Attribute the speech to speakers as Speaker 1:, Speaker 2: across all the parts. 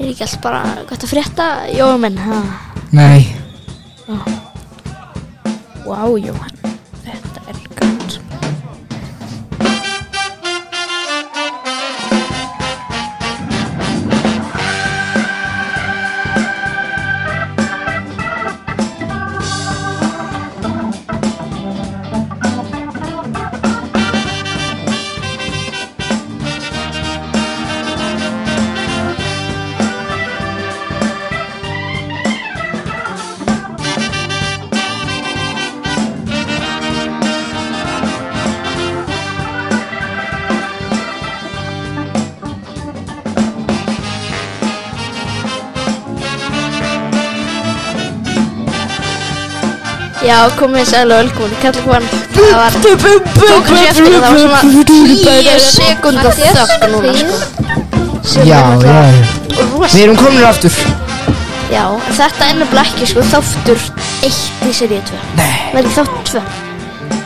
Speaker 1: ekki allt bara gott að frétta Jóhann, ha?
Speaker 2: Nei,
Speaker 3: Vá, Jóhann, þetta er gans.
Speaker 1: Já, komið sæl og velkomin í Kallakvann Það var, tókum sér eftir það var svona 10 sekundar þögn núna sko Sem er
Speaker 2: já, já,
Speaker 1: náttúrulega
Speaker 2: já. Við
Speaker 1: rosa-
Speaker 2: erum komin aftur.
Speaker 1: Já, en þetta er nefnilega ekki sko þáttur 1 í seríu 2
Speaker 2: Nei,
Speaker 1: Nei, þátt 2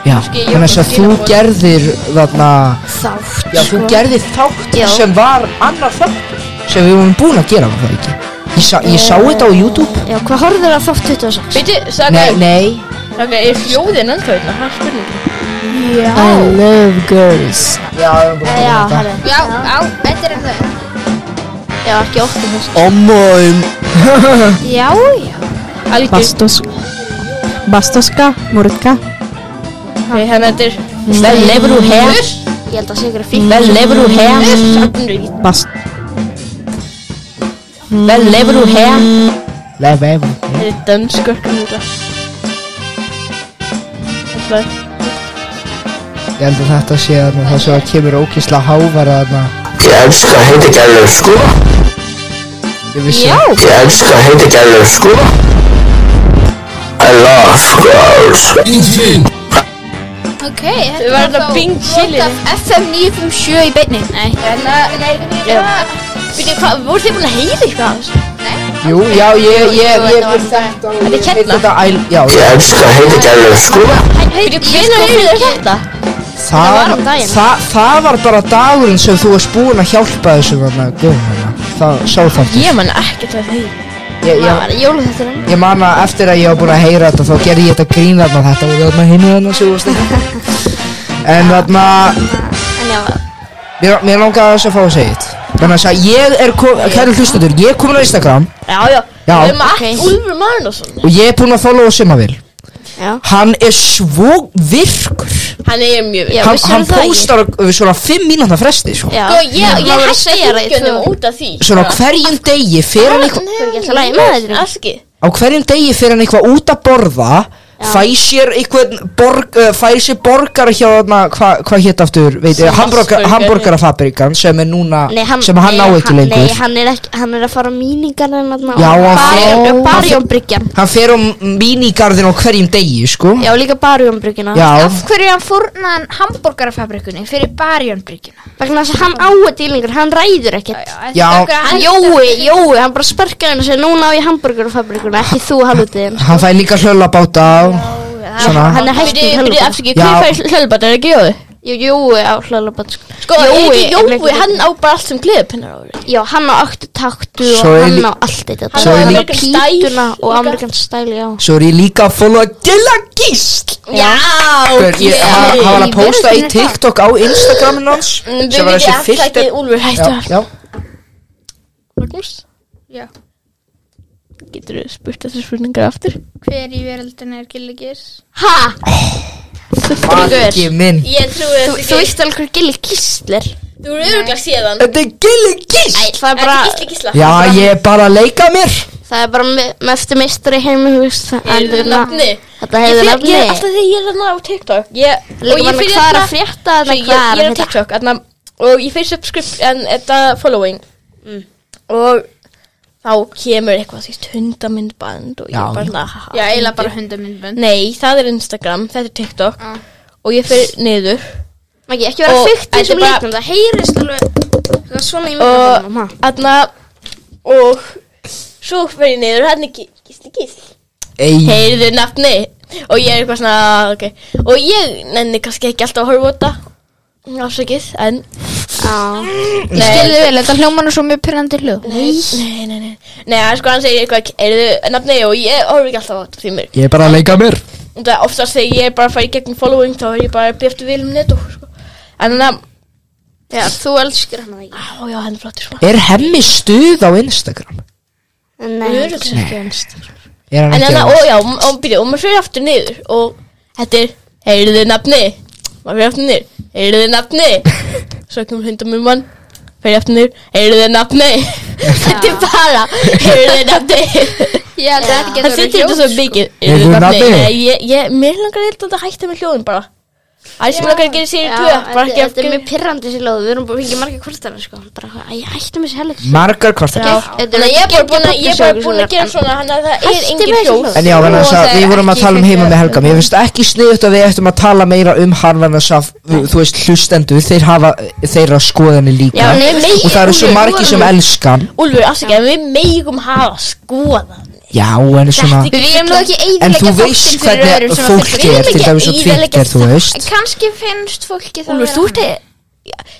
Speaker 2: já. Þannig að þú gerðir þarna,
Speaker 1: Þátt sko.
Speaker 2: já, sko. þú gerðir þátt
Speaker 1: Já.
Speaker 2: sem var annar þátt sem við vorum búin að gera, var það ekki? Ég sá, ég sá þetta á YouTube.
Speaker 1: Já, hvað horfður það þátt 26?
Speaker 3: Veitu, Saga,
Speaker 2: Nei, nei.
Speaker 3: Saga, er hljóðin ennþá hérna? Það er spurning.
Speaker 1: Já
Speaker 2: love girls. Eh, Já, við erum búin að
Speaker 1: Já,
Speaker 2: gera þetta.
Speaker 1: herri
Speaker 3: Já, á, þetta er
Speaker 1: hérna.
Speaker 3: ennþá.
Speaker 1: Já, ekki óttum þess
Speaker 2: Ommoðum.
Speaker 1: Já, já
Speaker 3: Algjör.
Speaker 4: Bastos Bastoska, Murka
Speaker 3: Ok, hérna þetta er...
Speaker 2: Vel lefur þú hér.
Speaker 1: Ég held að sé ykkur að fíkn
Speaker 2: Vel lefur þú hér.
Speaker 3: Safnrýtt.
Speaker 4: Bast
Speaker 2: Vel lefur þú hér. Lef, lef.
Speaker 3: Þetta er dönskörkum út af. Þetta er...
Speaker 2: Ég held að þetta sé þarna það sem að kemur ókísla hávara þarna.
Speaker 5: Ég elska að heita gælur sko.
Speaker 2: Ég vissi. Já.
Speaker 5: Ég elska að heita gælur sko. I love girls.
Speaker 1: Ok, þetta
Speaker 3: Þau verða Bing Chili.
Speaker 1: FM 957 í beinni Nei,
Speaker 3: Hérna, nei, nei,
Speaker 1: byrju, hvað, voru þið búin að heyra eitthvað af þessu?
Speaker 2: Jú, já, ég, ég, ég, ég, þetta. Þetta
Speaker 3: er hérna.
Speaker 2: Þetta, æl, já,
Speaker 5: Ég elska að heita gælur sko.
Speaker 1: Byrju, hvernig eru þið þetta?
Speaker 2: það,
Speaker 1: var um daginn.
Speaker 2: það, það var bara dagurinn sem þú varst búin að hjálpa þessu þarna, guðum þarna. Það, sá þáttu.
Speaker 3: ég man ekki til því.
Speaker 2: Ég,
Speaker 1: Það
Speaker 2: ég,
Speaker 1: var jóluþætturinn
Speaker 2: ég man að eftir að ég var búin að heyra þetta, þá gerði ég þetta grín þarna, þetta voru þarna hinu þarna sem þú varst að. En þarna,
Speaker 1: En já,
Speaker 2: mér, mér langaði þess að fá að segja þetta. Þannig að ég er, kom, kæru hlustendur, ég er komin á Instagram
Speaker 3: Já, já.
Speaker 2: Já.
Speaker 3: Við erum
Speaker 1: Ok.
Speaker 3: allt Úlfur Magnússon.
Speaker 2: og ég er búin að followa Simavil.
Speaker 1: já
Speaker 2: Hann er svo virkur.
Speaker 3: Hann er mjög
Speaker 1: Já,
Speaker 2: hann
Speaker 1: vissirðu
Speaker 2: hann
Speaker 1: það ekki?
Speaker 2: póstar við svona fimm mínúna fresti sko.
Speaker 1: Já,
Speaker 3: Sko, ég, ég
Speaker 1: var að
Speaker 3: hætti
Speaker 1: segja það í tvö
Speaker 3: fylgjanum út af því sko.
Speaker 2: Svona á hverjum degi fyrir hann
Speaker 1: Þú
Speaker 2: eitthvað
Speaker 1: er ekki alltaf lægið með þetta
Speaker 3: Aski
Speaker 2: Á hverjum degi fyrir hann eitthvað út að borða Fæ sér eitthvað borg, uh, Fæ sér borgara hjá þarna Hvað hva hétt aftur veit,
Speaker 3: Sem
Speaker 2: hamburger,
Speaker 3: Asperger.
Speaker 2: Hamburgarafabrikan sem er núna
Speaker 1: Nei, hann,
Speaker 2: Sem hann
Speaker 1: nei,
Speaker 2: á ekki lengur
Speaker 1: Nei, hann er, ekki, hann er að fara á míningar en þarna
Speaker 2: Já, hann fer-
Speaker 1: Barjónbryggjan
Speaker 2: Hann fer á mínigarðin á hverjum degi sko
Speaker 1: Já, líka barjónbryggjuna
Speaker 2: Já,
Speaker 6: Af hverju hann fórnaðan hambúrgarafabrikunni fyrir barjónbryggjuna?
Speaker 1: Vegna þess að hann á þetta í lengur, hann ræður ekkert
Speaker 2: Já.
Speaker 1: Hann Jói, Jói, hann bara sparkaði henni og segir núna á ég hambúrgarafabrikuna, ekki þú halvutiðin
Speaker 2: hann fær líka hlöllabáta á Svona
Speaker 1: Hann er hættur í
Speaker 3: Byrju,
Speaker 1: höllubann
Speaker 3: afsaki,
Speaker 2: Já.
Speaker 3: hver fær hlöðbætt, er ekki Jói?
Speaker 1: Jú, Jói á höllubann sko.
Speaker 3: Sko,
Speaker 1: Jói
Speaker 3: Jói,
Speaker 1: er
Speaker 3: Jói,
Speaker 1: leikur-
Speaker 3: hann á bara allt sem gleðpinnar ári
Speaker 1: Já, hann á öktu taktu
Speaker 2: Svo
Speaker 1: og
Speaker 2: er
Speaker 1: hann
Speaker 2: lí-
Speaker 1: á allt þetta
Speaker 3: Hann
Speaker 2: Svo
Speaker 3: á
Speaker 2: er líka-
Speaker 3: American Style
Speaker 1: Pítuna og Amerikan stæl, já
Speaker 2: Svo er ég líka að followa Dilla Gísl
Speaker 3: Já,
Speaker 2: Hver, ég, hann, hann var að posta í TikTok á Instagramin hans
Speaker 3: Mm,
Speaker 1: Mm,
Speaker 3: Við
Speaker 2: sem var
Speaker 3: veitum
Speaker 2: þessi
Speaker 3: alltaf
Speaker 2: fyrst
Speaker 3: ekki Úlfur hættu
Speaker 2: já,
Speaker 3: að
Speaker 2: já.
Speaker 3: Magnús
Speaker 6: Já.
Speaker 3: Getur þú spurt þessar spurningar aftur?
Speaker 6: Hver í veröldin er gilligis?
Speaker 1: Ha,
Speaker 2: Maggi minn
Speaker 3: Ég trúi
Speaker 1: þú, þú veist alveg hver gilli gíslir
Speaker 3: Þú eru öruglega séðan
Speaker 2: Þetta er gilli gísl
Speaker 1: Það er bara,
Speaker 3: gísla
Speaker 2: Um, Já, ég er bara að leika mér
Speaker 1: það er bara me- með eftir meistari heimi, þú veist það- en
Speaker 3: Heiðu
Speaker 1: þarna-
Speaker 3: nafni
Speaker 1: Þetta
Speaker 3: Ég
Speaker 1: hefur
Speaker 3: fer- ég er
Speaker 1: nafni
Speaker 3: alltaf því ég er þarna á TikTok Ég, og
Speaker 1: Líka
Speaker 3: ég
Speaker 1: bara
Speaker 3: fyrir
Speaker 1: hvað er
Speaker 3: þarna
Speaker 1: að frétta
Speaker 3: Svo
Speaker 1: þarna, hvað er
Speaker 3: ég, ég er á
Speaker 1: að frétta
Speaker 3: TikTok atna, og ég fyrir subscription þetta following og Mm. þá kemur eitthvað því hundamindband og ég
Speaker 2: Já.
Speaker 3: bara svona, ha, ha,
Speaker 6: Já, eiginlega bara
Speaker 3: fyndið.
Speaker 6: hundamindbund.
Speaker 3: Nei, það er Instagram, þetta er TikTok og ég fyrir niður
Speaker 1: Maggi, ekki vera
Speaker 3: Og
Speaker 1: fyrkt í
Speaker 3: þetta
Speaker 1: þessum
Speaker 3: er bara-
Speaker 1: leiknum, það heyrist alveg það er svona í
Speaker 3: og
Speaker 1: mikrofónum, ha
Speaker 3: atna, og svo fyrir ég niður hann er gísli gísli gísli
Speaker 2: Ei,
Speaker 3: heyrðu nafni og ég er eitthvað svona ok og ég nenni kannski ekki alltaf að horfa á þetta ásakið en
Speaker 6: Ég skilði vel, þetta hljóman er svo mjög pyrrandi hljóð
Speaker 3: Nei, nei, nei Nei, það er sko hann segir eitthvað Erðu nafni og ég horf ekki alltaf á þetta því mér
Speaker 2: Ég er bara að leika mér
Speaker 3: Og það er oftast þegar ég er bara að fara í gegnum following Þá er ég bara að byrja eftir Vilum Netto sko. En þannig að
Speaker 1: Já, þú elskir hann ekki.
Speaker 3: Á, já, hann er flottur sko
Speaker 2: Er hemmi stuð á Instagram?
Speaker 1: Nei, hann
Speaker 3: Örugglega.
Speaker 1: elskir ekki hans.
Speaker 2: Er hann
Speaker 3: En
Speaker 2: ekki
Speaker 3: þannig
Speaker 2: á
Speaker 3: að, og hérna, já, og- og byrja Og maður fyrir aftur niður Og þetta er Heyrðu nafni Maður fyrir aftur niður Heyrðu nafni Svo kemur hundamum mann Fyrir aftur niður Heyrðu nafni Þetta er bara Heyrðu nafni
Speaker 6: Ég held að þetta
Speaker 3: Það
Speaker 6: getur
Speaker 3: sittir þetta svo mikið Eru
Speaker 2: Eru
Speaker 3: þið
Speaker 2: nafni?
Speaker 3: nafni? Nei, ég, ég, mér langar eitthvað að hætta með hljóðin bara Æs, mér langar að gera sér í
Speaker 1: Já,
Speaker 3: tvö
Speaker 1: þetta-
Speaker 3: Bara ekki að
Speaker 1: Þetta er mjög pirrandi sér lóð, við erum bara fengið marga kvartana sko Bara, eitthvað, æ, hættum þessi helg
Speaker 2: Margar kvartar
Speaker 3: Já,
Speaker 1: Þetta er
Speaker 3: Þannig að ég er bara
Speaker 1: geggjað
Speaker 3: búin að, ég er bara búin að
Speaker 1: publisjókur,
Speaker 3: gera svona Þannig að það er
Speaker 1: Hættu
Speaker 3: engin
Speaker 1: með þessi
Speaker 3: hljóð
Speaker 1: hljóð.
Speaker 2: En já, vegna þess að
Speaker 6: það er
Speaker 2: við vorum að
Speaker 6: ekki
Speaker 2: tala um heima
Speaker 6: fyrir-
Speaker 2: með Helga Mér finnst ekki sniðut að við ættum að tala meira um hann vegna þess að, þú veist, hlustendur Þeir hafa þeirra skoðanir líka
Speaker 1: Já, nei, megi-
Speaker 2: Og það eru svo
Speaker 1: Úlfur,
Speaker 2: margir sem
Speaker 1: Úlfur.
Speaker 2: elskan
Speaker 3: Úlfur, afsakið, en við megum hafa skoða
Speaker 2: Já, en svona
Speaker 3: Þetta er
Speaker 6: Við erum nú ekki
Speaker 2: En þú
Speaker 6: eiginlega
Speaker 2: veist hvernig fólk er Til dæmis á Twitter, þú veist
Speaker 6: Kanski finnst fólki það
Speaker 1: Úlfur, þú ert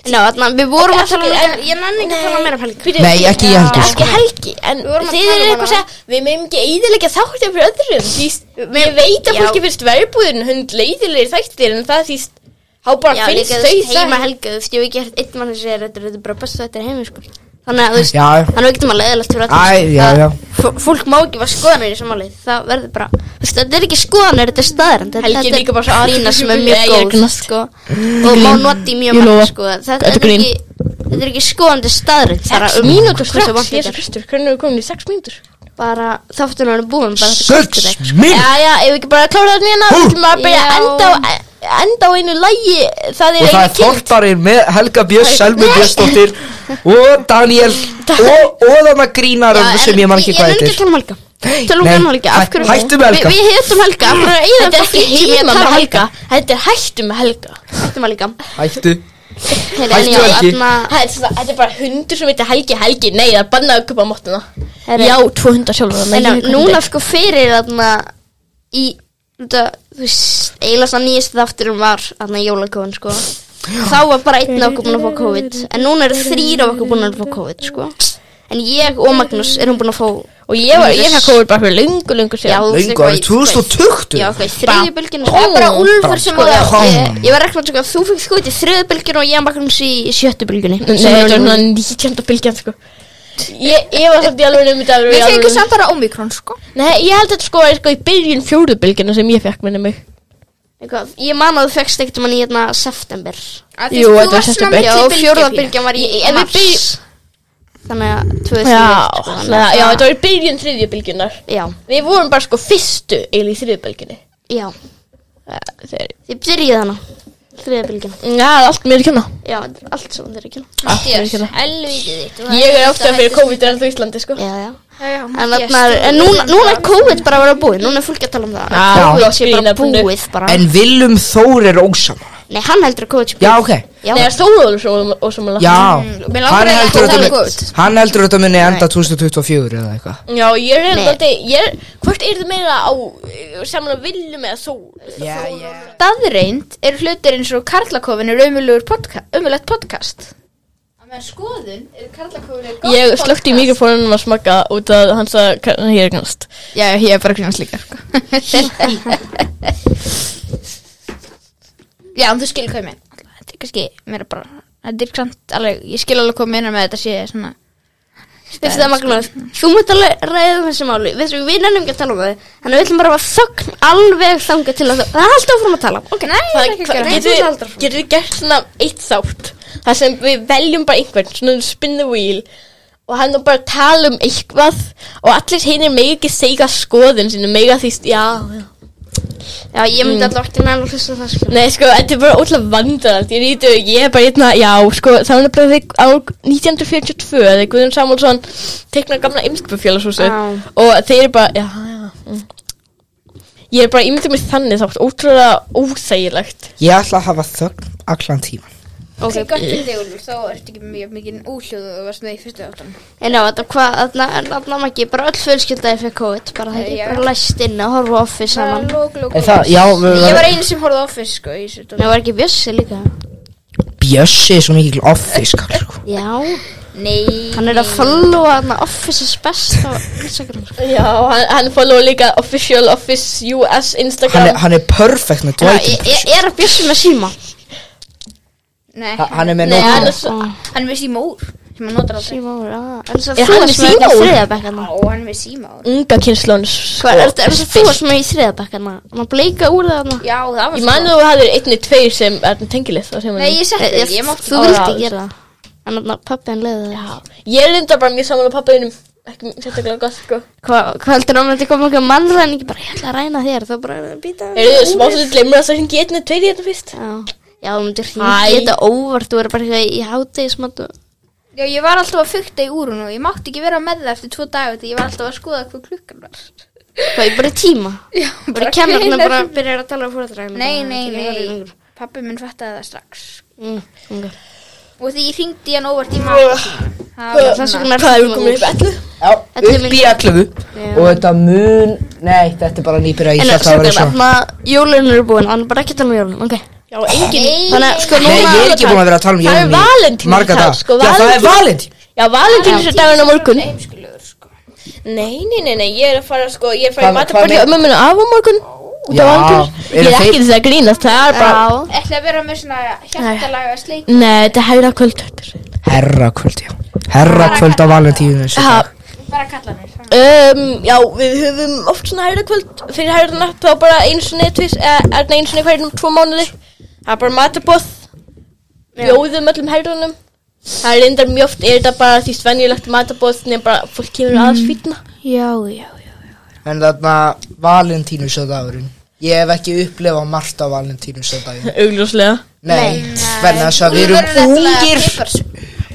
Speaker 1: Ná, þannig að við vorum að tala um
Speaker 3: En-
Speaker 1: þetta Ég nenni ekki að tala meira um helg
Speaker 2: Nei, ekki ég heldur, sko.
Speaker 3: Ekki helgi, en
Speaker 1: vorum að
Speaker 3: þið
Speaker 1: tala um
Speaker 3: eru eitthvað að
Speaker 1: hana.
Speaker 3: segja Við megum ekki eiðilega þáttir fyrir öðrum Því ég veit að
Speaker 1: já.
Speaker 3: fólki finnst verbúðin Hund leiðilegir þættir, en það þýst Há bara
Speaker 1: Já,
Speaker 3: finnst
Speaker 1: líka þú
Speaker 3: þau
Speaker 1: veist heima
Speaker 3: það
Speaker 1: helgu Þú veist, ég hef ekki hægt einn mann að segja þetta Þetta er bara bestu þetta er heimi sko Þannig að þú veist,
Speaker 2: Já.
Speaker 1: þannig að við getum að leiðilegt fyrir alla,
Speaker 2: Æ,
Speaker 1: sko.
Speaker 2: já,
Speaker 1: Það-
Speaker 2: já.
Speaker 1: f- Fólk má ekki vera skoðanir í samanlið Það verður bara, þú veist, þetta er ekki skoðanir Þetta er staðarand
Speaker 3: Helgi er líka bara svo athyglisfull.
Speaker 1: lína sem er
Speaker 3: Nei,
Speaker 1: mjög
Speaker 3: ég er
Speaker 1: góð
Speaker 3: gnast.
Speaker 1: sko Og má noti mjög
Speaker 3: Ég lofa.
Speaker 1: mörg sko Þetta
Speaker 3: Þetta er
Speaker 1: er
Speaker 3: grín.
Speaker 1: ekki Þetta er ekki skoðandi staðarinn Bara um
Speaker 3: Mínútur sko,
Speaker 1: hversu
Speaker 3: strax,
Speaker 1: vont þetta
Speaker 3: Jésu
Speaker 1: er.
Speaker 3: Kristur Hvernig erum við komin í sex mínútur?
Speaker 1: Bara þáttunum er búin bara þetta er
Speaker 2: Sex
Speaker 1: kvöldið.
Speaker 2: minn
Speaker 3: Já, já, ef við ekki bara klára það nýjana Við getum að byrja að
Speaker 1: Já.
Speaker 3: enda á, enda á einu lægi Það
Speaker 2: Og það
Speaker 3: er einu
Speaker 2: er
Speaker 3: kynnt
Speaker 2: þorparinn með Helga Björns, Selmu Björnsdóttir Og Daniel Og, og þarna grínar
Speaker 1: Já,
Speaker 2: sem
Speaker 1: en
Speaker 2: ég man ekki
Speaker 1: ég-
Speaker 2: hvað
Speaker 1: Ég nenni ekki
Speaker 2: heitir
Speaker 1: að tala um helga Tölum við
Speaker 2: Nei,
Speaker 1: um helga, af
Speaker 2: hæ-
Speaker 1: hverju
Speaker 2: hættum með Helga.
Speaker 1: Við vi hittum helga, af hverju eigum
Speaker 3: Þetta er
Speaker 1: fólki
Speaker 3: ekki
Speaker 1: tíma að
Speaker 3: heima með
Speaker 1: tala um
Speaker 3: helga Þetta er hættum með helga
Speaker 1: Hættum helga
Speaker 2: Hættu
Speaker 1: Heyrðu, en
Speaker 2: Hættu
Speaker 1: já, hérna-
Speaker 2: Helgi.
Speaker 1: þarna-
Speaker 3: Það er svona- Þetta er bara hundur sem heitir Helgi Helgi Nei, það er bannað að kupa móttuna
Speaker 1: Herri.
Speaker 3: Já, tvo hundar sjálfur þannig
Speaker 1: En
Speaker 3: að
Speaker 1: já,
Speaker 3: ég veit hvað
Speaker 1: núna
Speaker 3: þetta
Speaker 1: sko fyrir þarna Í, þetta, þú veist Eiginlega sann nýjast þátturum var Þarna jólakofan sko Þá var bara einn af okkur búin að fá COVID En núna eru þrýr af okkur búin að fá COVID sko En ég og Magnús erum búin að fá
Speaker 3: er. Og ég var, ég fæk kóður bara fyrir löngu,
Speaker 1: Já,
Speaker 3: löngu síðan
Speaker 1: þú veist,
Speaker 2: Löngu
Speaker 1: eitthvað
Speaker 2: árið
Speaker 1: í-
Speaker 2: 2020?
Speaker 1: Já, eitthvað í þriðju bylginu
Speaker 3: Bara sko.
Speaker 1: Það er bara
Speaker 3: tóm.
Speaker 1: Úlfur sem
Speaker 2: Bara
Speaker 1: að
Speaker 2: tóm.
Speaker 1: Ég, ég var ekki að tjóka Þú fikk sko í þriðju bylginu og ég og Magnús í sjöttu bylginu
Speaker 3: Nei, þetta var svona nýtjönda bylgjan, sko Ég, ég var samt í alveg um þetta alveg í
Speaker 6: Við
Speaker 3: alvöru.
Speaker 6: fengum samt bara Omikron sko
Speaker 3: Nei, ég held þetta sko að sko í byrjun fjóruðu bylgjana sem ég fekk minni mig
Speaker 1: Eitthvað, Ég man að þú fekkst ekkert mann í hérna september
Speaker 3: Jú,
Speaker 6: Þú
Speaker 3: þetta er
Speaker 6: varst
Speaker 3: sérsta
Speaker 6: svona
Speaker 3: bylgja.
Speaker 1: Já,
Speaker 6: mikið bylgjufíl.
Speaker 1: fjórða bylgjan var í
Speaker 3: Ég- ef við
Speaker 1: mars Þannig að 2001
Speaker 3: Já,
Speaker 1: sko,
Speaker 3: þannig
Speaker 1: þannig
Speaker 3: að-
Speaker 1: að-
Speaker 3: já, þetta var í byrjun þriðju bylgjunar
Speaker 1: Já,
Speaker 3: Við vorum bara sko fyrstu eil í þriðju bylgjunni
Speaker 1: já Eh,
Speaker 3: Þegar
Speaker 1: Þið byrjið hana Þriðja bylgjan
Speaker 3: Já, allt mér kjöna
Speaker 1: Já, þetta er allt sem þeir ekki
Speaker 3: Matthías,
Speaker 6: Helvítið þitt
Speaker 3: Ég er ofta fyrir COVID en þú Íslandi sko
Speaker 1: Já, já En,
Speaker 6: En
Speaker 1: þarna er, en núna, núna er COVID bara að vera búið Núna er fólk að tala um
Speaker 2: Ah,
Speaker 1: það
Speaker 3: Já.
Speaker 1: COVID sé
Speaker 3: Já.
Speaker 1: bara búið bara.
Speaker 2: En Willum Þór er ósama
Speaker 1: Nei, hann heldur að COVID sé búið
Speaker 2: Já, ok
Speaker 1: Já.
Speaker 3: Nei, það er Þóróður svo og svo mjög
Speaker 2: Já,
Speaker 6: mig langar
Speaker 2: hann heldur,
Speaker 6: eiginlega ekki að
Speaker 2: að
Speaker 6: tala um
Speaker 2: þetta muni- hann heldur að þetta muni enda 2024 eða eitthvað
Speaker 3: Já, ég er
Speaker 1: Nei.
Speaker 3: hérna alltaf ég er, Hvort er þið meira á eh, saman að viljum eða Þóróður?
Speaker 2: Já, já
Speaker 6: Staðreind eru hlutir eins og Karlakofin er ömulegt podca ömulegt podcast
Speaker 3: Ég slökti í mikrofónunum að smaka út að hans að hérna hér kannast
Speaker 6: Já, já, ég er bara að grínast líka sko. Já, en þú skilur hvað ég meina Þetta er kannski meira bara Þetta er samt alveg, ég skil alveg hvað ég meina með að þetta sé svona
Speaker 1: Veistu það Magnús, þú mútt alveg ræða um þessi máli Veistu, við nennum ekki að tala um það Þannig við ætlum bara að hafa þögn alveg þangað til að það Það er alltaf áfram að tala
Speaker 6: Ok, nei, það er
Speaker 3: Það
Speaker 6: ekki
Speaker 3: hvað-
Speaker 6: að gera
Speaker 3: getum við- getum við gert svona eitt þátt Það sem við veljum bara einhvern Svona spin the wheel Og hann er bara að tala um eitthvað Og allir hinn er mega ekki segja skoðun sinni Mega því, já, já
Speaker 1: Já, ég myndi alltaf ekki nenn að hlusta á það sko
Speaker 3: Nei, sko, þetta er bara ótrúlega vandrarallt Ég rítu, ég er bara hérna, já, sko Það var nefnilega þegar á 1942 Þegar Guðjón Samúlsson teiknar gamla Eimskipafélagshúsi
Speaker 1: Já.
Speaker 3: Og þeir eru bara, já, já mm. Ég er bara ímyndið mér þannig þátt Ótrúlega óþægilegt
Speaker 2: Ég ætla að hafa þögn allan tíman
Speaker 6: Ok, gott fyrir þig Úlfur, þá ertu ekki mjög mikið úhljóð og varst með í fyrstu áttan
Speaker 1: En já, þetta hvað, þarna, en þarna Maggi, bara öll fjölskyldaði fyrir COVID Bara það ekki,
Speaker 6: Já.
Speaker 1: bara læst inn að horfa á office saman
Speaker 6: lók, lók,
Speaker 2: En það, já, við
Speaker 6: Ég var einu sem horfði á Office sko í þessu
Speaker 1: Nei, var ekki bjössi líka
Speaker 2: Bjössi er svo mikil offiskar sko.
Speaker 1: Já,
Speaker 6: Nei
Speaker 1: hann er að followa hann Office's best á Instagram sko.
Speaker 3: Já, hann, hann follow líka Official Office US
Speaker 2: hann, er,
Speaker 3: Instagram
Speaker 2: hann er perfect með
Speaker 1: Já,
Speaker 2: Dwight
Speaker 1: ég, ég e, er að bjössi með síma
Speaker 6: Nei,
Speaker 2: Ha- Hann er með
Speaker 6: Nei, hann
Speaker 2: nótum
Speaker 6: er s- hann er með símór sem hann notar aldrei
Speaker 1: Síma úr, já En svo
Speaker 3: Er
Speaker 1: þú
Speaker 3: hann
Speaker 1: varst
Speaker 3: í
Speaker 1: með þetta
Speaker 3: síma úr?
Speaker 1: þriðabekkana
Speaker 6: Ó, hann er með símór
Speaker 3: Unga kynslóns sko.
Speaker 1: Hvað, er þetta þú varst með í þriðabekkana Má bleika úr það hann
Speaker 6: Já, það var
Speaker 3: Ég man að þú hafðir einni tveir sem er tengilið þá sem
Speaker 6: Nei, ég setti
Speaker 1: Ég-
Speaker 6: þig, ég mátti
Speaker 1: Þú
Speaker 6: bara-
Speaker 1: vildi gera það En þannig að pappi hann leiði það
Speaker 3: Ég er linda bara mjög saman á pappaðinum Ekki sérstaklega gott sko
Speaker 1: Hvað hvað heldur hann að þetta koma einhver mannræningi bara ég ætla að ræna þér þá bara býta
Speaker 3: Er þið smátt að glemur að það hringi einni tveir í þetta fyrst
Speaker 1: Já, já þú myndir
Speaker 3: Æ.
Speaker 1: hringi þetta óvart þú verður bara eitthvað í hátegismat og
Speaker 6: Já, ég var alltaf að fukta í úrun og ég mátti ekki vera með það eftir tvo daga því ég var alltaf að skoða hvað klukkan var.
Speaker 1: hvað ég bara í tíma
Speaker 6: Já,
Speaker 1: bara kennarna bara byrjar að tala um fóræðræðina
Speaker 6: Nei, nei, nei, pappi minn fattaði það strax.
Speaker 1: mm, okay.
Speaker 6: Og því ég hringdi í hann óvart í maður. Það var
Speaker 1: Þess
Speaker 6: svona.
Speaker 1: vegna er það
Speaker 3: Komum upp
Speaker 1: úr
Speaker 3: ellu
Speaker 2: Já, upp í 11
Speaker 1: Já.
Speaker 2: og þetta mun, nei þetta er bara sko. nýbyrja ég
Speaker 1: En
Speaker 2: held að það verið
Speaker 1: svo
Speaker 2: svona
Speaker 1: að jólun eru búin hann er bara ekki að tala um jólun ok
Speaker 3: Já, engin
Speaker 1: Þannig að sko
Speaker 2: Nei,
Speaker 1: núna
Speaker 2: ég er ekki búin að vera að tala um
Speaker 3: Það
Speaker 2: jólun
Speaker 3: er
Speaker 2: í
Speaker 3: Valentínus
Speaker 2: marga
Speaker 3: í dag,
Speaker 2: dag
Speaker 3: sko,
Speaker 2: Já, það er
Speaker 3: Valentínus-
Speaker 2: Valentín
Speaker 3: Já, valentínus er dagurinn á morgun
Speaker 6: Heimskulegur, sko.
Speaker 3: Nei, nei, nei, nei, ég er að fara sko Ég er að fara í
Speaker 2: Hvað-
Speaker 3: matapartí
Speaker 2: hvað
Speaker 3: á mömminu af á morgun Út af
Speaker 2: Já,
Speaker 3: valentínus Ég
Speaker 2: eru
Speaker 3: er ekki
Speaker 2: þeir-
Speaker 3: þess að grínast, það er bara
Speaker 1: Já,
Speaker 6: Ætla að vera með svona hjartalaga sleik.
Speaker 3: Nei, þetta er hægra kvöld
Speaker 2: Herra kvöld, já Herra kvöld á Valentínu
Speaker 3: Ha,
Speaker 6: Bara kalla hann.
Speaker 3: um, Já, við höfum oft svona hægra kvöld Fyrir hægra natt þá bara einu sinni tvis, eða er það einu sinni hverjum tvo mánuði Það er bara matabóð Bjóðum öllum hægrunum Það er reyndar mjög oft, er þetta bara því svenjulegt matabóð Nefn bara fólk kemur mm. aðeins fýtna
Speaker 6: Já, já, já.
Speaker 2: En þarna Valentínus á dagurinn Ég hef ekki upplefað margt á Valentínus á dagurinn
Speaker 3: Augljóslega
Speaker 2: Nei, hvernig þess að við erum ungir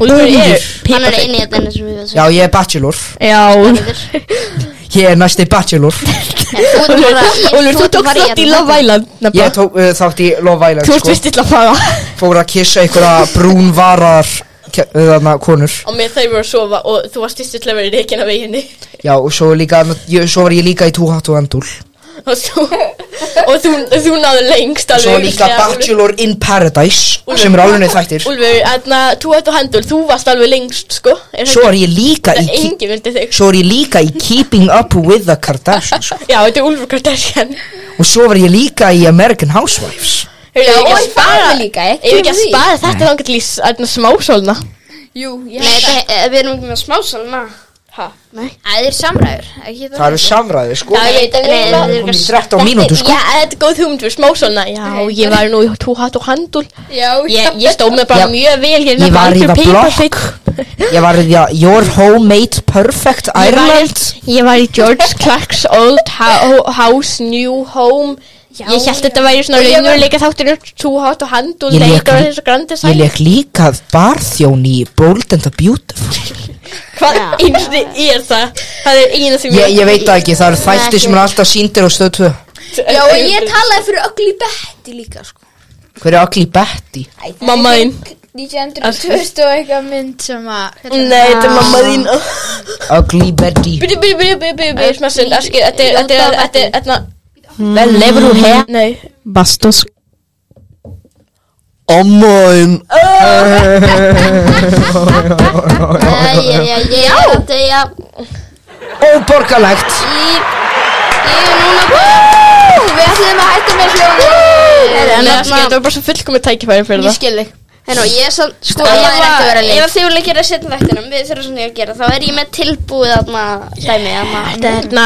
Speaker 3: Og þú er
Speaker 1: hann er eini þetta enn sem við
Speaker 2: Já, ég er bachelor
Speaker 3: Já,
Speaker 2: Ég er næsti bachelor
Speaker 3: Úlfur, þú tókst þátt í Love Island
Speaker 2: Ég
Speaker 3: nefnilega.
Speaker 2: tók uh, þátt í Love Island
Speaker 3: Þú ert
Speaker 2: sko.
Speaker 3: vist illa að fara
Speaker 2: Fór að kissa einhverja brúnvarar ke- uh, Þarna konur
Speaker 3: Og með þau voru að sofa og þú varst vist illa að vera í reikina veginni
Speaker 2: Já, og svo, líka, ég, svo var ég líka í Túhatt og Endúl
Speaker 3: Og þú, og þú, þú náðu lengst
Speaker 2: Svo
Speaker 3: alveg
Speaker 2: líka Bachelor in Paradise Sem er alveg neitt þættir
Speaker 3: Úlfur, þarna, þú hættu hendur, þú varst alveg lengst sko Er það
Speaker 2: Svo er ég líka í
Speaker 3: ekki-
Speaker 2: ki-
Speaker 3: Enginn vildi þig
Speaker 2: Svo er ég líka í Keeping Up with the Kardashians sko.
Speaker 3: Já, þetta er Úlfur Kardashian
Speaker 2: Og svo var ég líka í American Housewives
Speaker 3: Hefur ekki að
Speaker 6: Og
Speaker 3: spara
Speaker 6: það líka,
Speaker 3: Hefur ekki að
Speaker 6: því.
Speaker 3: spara þetta þá getur lýs Þarna smásólna
Speaker 6: Jú, já.
Speaker 1: Nei, þetta- eh, við erum ekki með smásalna
Speaker 6: Það er samræður, ekki það?
Speaker 2: Það eru samræði sko
Speaker 3: Já, ég veit að við erum
Speaker 2: Hún
Speaker 3: að-
Speaker 2: er í 13 mínútur sko
Speaker 3: Já, þetta er góð hugmynd fyrir smásólna Já, ég var nú í tú hatt og handul
Speaker 6: Já,
Speaker 3: Ég, ég stóð mig bara
Speaker 2: Já.
Speaker 3: mjög vel hérna
Speaker 2: Ég var í
Speaker 3: Baldur
Speaker 2: það
Speaker 3: Paper
Speaker 2: blokk Ég var í það Your homemade perfect
Speaker 3: Ég var í-
Speaker 2: Ireland
Speaker 3: Ég var í George Clark's Old ho House New Home Ég held þetta væri svona raunveruleika þáttur Too Hot og Hand og
Speaker 2: Ég lék-
Speaker 3: leikar og þessu grandi
Speaker 2: Ég
Speaker 3: sæl
Speaker 2: leik líka barþjón í Bold and the Beautiful
Speaker 3: Hvað einstu er það? Það er eina sem
Speaker 2: Ég, ég veit það ekki, það eru þættir sem er alltaf síndir á stöð 2
Speaker 6: Já, og ég talaði fyrir ögli betti líka, sko.
Speaker 2: Hver er allir Betty?
Speaker 3: Mamma þín
Speaker 6: 1920 og eitthvað mynd sem að
Speaker 3: Nei, þetta er mamma þín
Speaker 2: Oh. Ugly Betty
Speaker 3: Ah. Byrju, byrju, byrju, byrju, byrju, byrju Smassun, aski, þetta er, þetta er, þetta er, þetta er
Speaker 4: Vel lefur Mm, þú hér
Speaker 3: Nei
Speaker 4: Bastos
Speaker 2: Ommoðin
Speaker 1: Æ, já, já, já, já, þetta er já
Speaker 2: Óborgalegt
Speaker 1: Ég er núna
Speaker 6: Við ætlum að hætta með hljóðan
Speaker 1: Heyrðu, en
Speaker 3: Nei, aski,
Speaker 1: þarna-
Speaker 3: þetta var bara svo fullkomið tækifæri fyrir það
Speaker 6: skil þig
Speaker 1: Hérna, ég er samt, sko,
Speaker 6: Staðan
Speaker 1: ég
Speaker 6: er ekki að
Speaker 1: var,
Speaker 6: vera
Speaker 1: ef
Speaker 6: lið.
Speaker 1: að þið vilja gera setna þættinum, við þurfum svona að gera, þá er ég með tilbúið þarna dæmi, þarna,
Speaker 3: Þarna,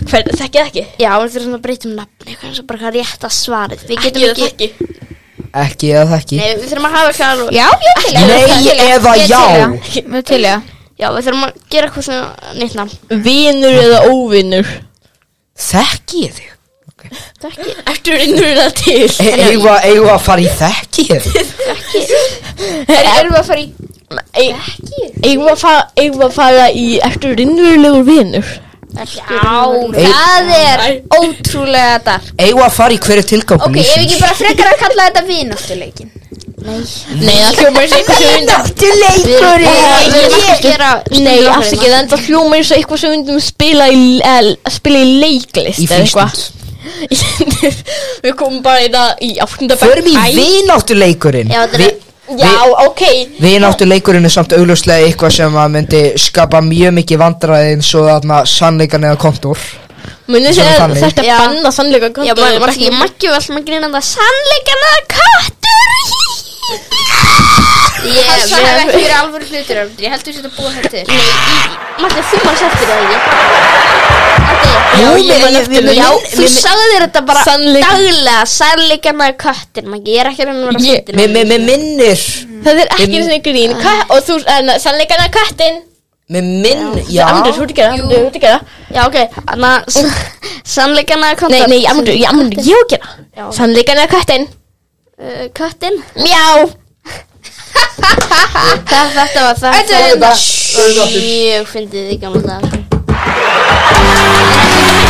Speaker 3: hver, þekkið það ekki?
Speaker 1: já, við þurfum svona að breyta um nafni, eitthvað eins og bara hvað rétt að svarið, við
Speaker 3: Ekki
Speaker 1: getum
Speaker 3: það
Speaker 1: ekki,
Speaker 3: þekki
Speaker 2: Ekki eða þekki
Speaker 1: nei, við þurfum að hafa eitthvað alveg,
Speaker 6: Já, ég til ég
Speaker 2: Nei eða já
Speaker 6: Við til ég
Speaker 1: já, við þurfum að gera eitthvað svona nýtt nafn,
Speaker 3: Vinur eða óvinur
Speaker 2: Þekki ég þig?
Speaker 3: Eftir innur það til
Speaker 2: E- Eigum að- eigum að fara í þekki ég þig?
Speaker 6: Erum við að fara í
Speaker 3: eh, Eigum við að fara, eigum við að fara í eftir rinnurlegur vinur
Speaker 6: Já,
Speaker 2: Ey-
Speaker 6: það er ótrúlega dark
Speaker 2: Eigum að fara í hverju tilgangu
Speaker 6: Ok, ef ekki bara frekar að kalla þetta vináttuleikin
Speaker 3: Nei, það hljómar eins og eitthvað sem við
Speaker 1: við við erum ekki að gera,
Speaker 3: Nei, afsikið, en það hljómar eins og eitthvað sem við myndum spila í, el, spila í leiklist
Speaker 2: Í
Speaker 3: eða eitthvað.
Speaker 2: frístund
Speaker 3: Við komum bara hérna í það í áttunda bekk.
Speaker 2: Förum í
Speaker 3: Æ,
Speaker 2: vináttuleikurinn
Speaker 1: Já, þetta er-
Speaker 2: Vi-
Speaker 3: Já, ok
Speaker 2: Við náttu leikurinn er samt augljóslega eitthvað sem að myndi skapa mjög mikið vandræði eins og þarna sannleikan eða kontor
Speaker 3: Munið
Speaker 2: Svona
Speaker 3: þið að
Speaker 2: þannig.
Speaker 3: þetta
Speaker 1: Já.
Speaker 3: banna sannleika
Speaker 1: Já,
Speaker 3: kontur
Speaker 1: maður var ekki makkið alltaf maður grinn að það sannleikan að kattur Ég,
Speaker 6: Það
Speaker 1: við
Speaker 6: hefði ekki verið alvöru hlutir Ég heldur sér að búa þetta til
Speaker 1: Nei, í- Magda, þú manns eftir það ekki Þetta er-
Speaker 2: Jú,
Speaker 1: Já, ég
Speaker 2: mér-
Speaker 1: man
Speaker 2: ég-
Speaker 1: eftir
Speaker 2: mér-
Speaker 1: það Já,
Speaker 2: mér-
Speaker 1: þú
Speaker 2: mér-
Speaker 1: sagðir þetta bara
Speaker 3: Sannleik-
Speaker 1: daglega Sannleikan að kattir, Maggi Ég er ekki að reyna að vera
Speaker 3: Ég-
Speaker 1: fyndin,
Speaker 2: Mér
Speaker 1: Maggi.
Speaker 2: mér- mér minnir
Speaker 3: Það er ekki
Speaker 2: Við-
Speaker 3: svona grín Ka- Og þú, en sannleikan að kattin
Speaker 2: Mér minnir, já
Speaker 3: Amdur, þú ert ekki að gera það, Amdur, þú ert ekki að gera það
Speaker 1: Já, ok, annað Sannleikan að
Speaker 3: Nei,
Speaker 1: kattir
Speaker 3: nei, Amdur, ég Amdur, ég á að gera
Speaker 1: Já.
Speaker 3: það Sannleikan að kattin
Speaker 1: Uh, Köttin
Speaker 3: Mjá
Speaker 1: Það- Þetta var það
Speaker 6: Þetta er
Speaker 1: Þetta
Speaker 6: þetta.
Speaker 1: var Mjög fyndið í gamla dag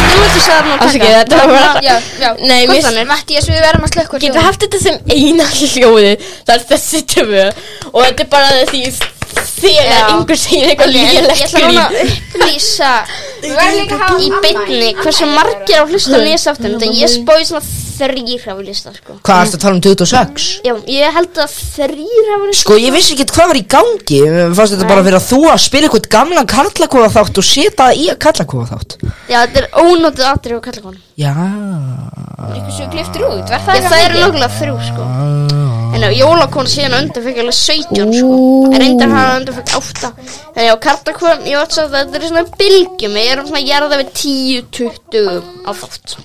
Speaker 1: Þú mútu sagði hann að taka
Speaker 3: Afsakið, þetta var bara-
Speaker 6: Já, já
Speaker 3: Nei, mér-
Speaker 6: Mattías, við verðum að slökka
Speaker 3: Getur haft þetta sem eina hljóði Það er þessi töfu Og þetta er bara því Þegar
Speaker 1: Já.
Speaker 3: einhver segir eitthvað
Speaker 1: Ég ég
Speaker 3: lélegt
Speaker 1: ætla núna að
Speaker 3: grín
Speaker 1: upplýsa
Speaker 6: Við verðum líka að hafa
Speaker 1: í beinni hversu margir á hlusta nýjastaftum Þannig ég spóði svona þrýr hafa listað sko.
Speaker 2: Hvað ertu að tala um 26?
Speaker 1: Já, ég held að þrýr hafa listað
Speaker 2: Sko ég vissi ekki hvað var í gangi Mér Fannst þetta bara verið að þú að spila eitthvað gamlan karlakofa þátt og setja það í að karlakofa þátt
Speaker 1: Já, þetta er ónótið atrið á kallakonu
Speaker 2: Já
Speaker 6: Svo kliftur út, verð það
Speaker 1: Já, það eru nokkulega þrjú sko En á jólakonu síðan á undan fekk ég alveg 17 sko En reyndar hann á undan fekk 8 Þannig á kartakon, ég vatsa að þetta er svona bylgjum Ég er um svona að gera það við 10-20 á þátt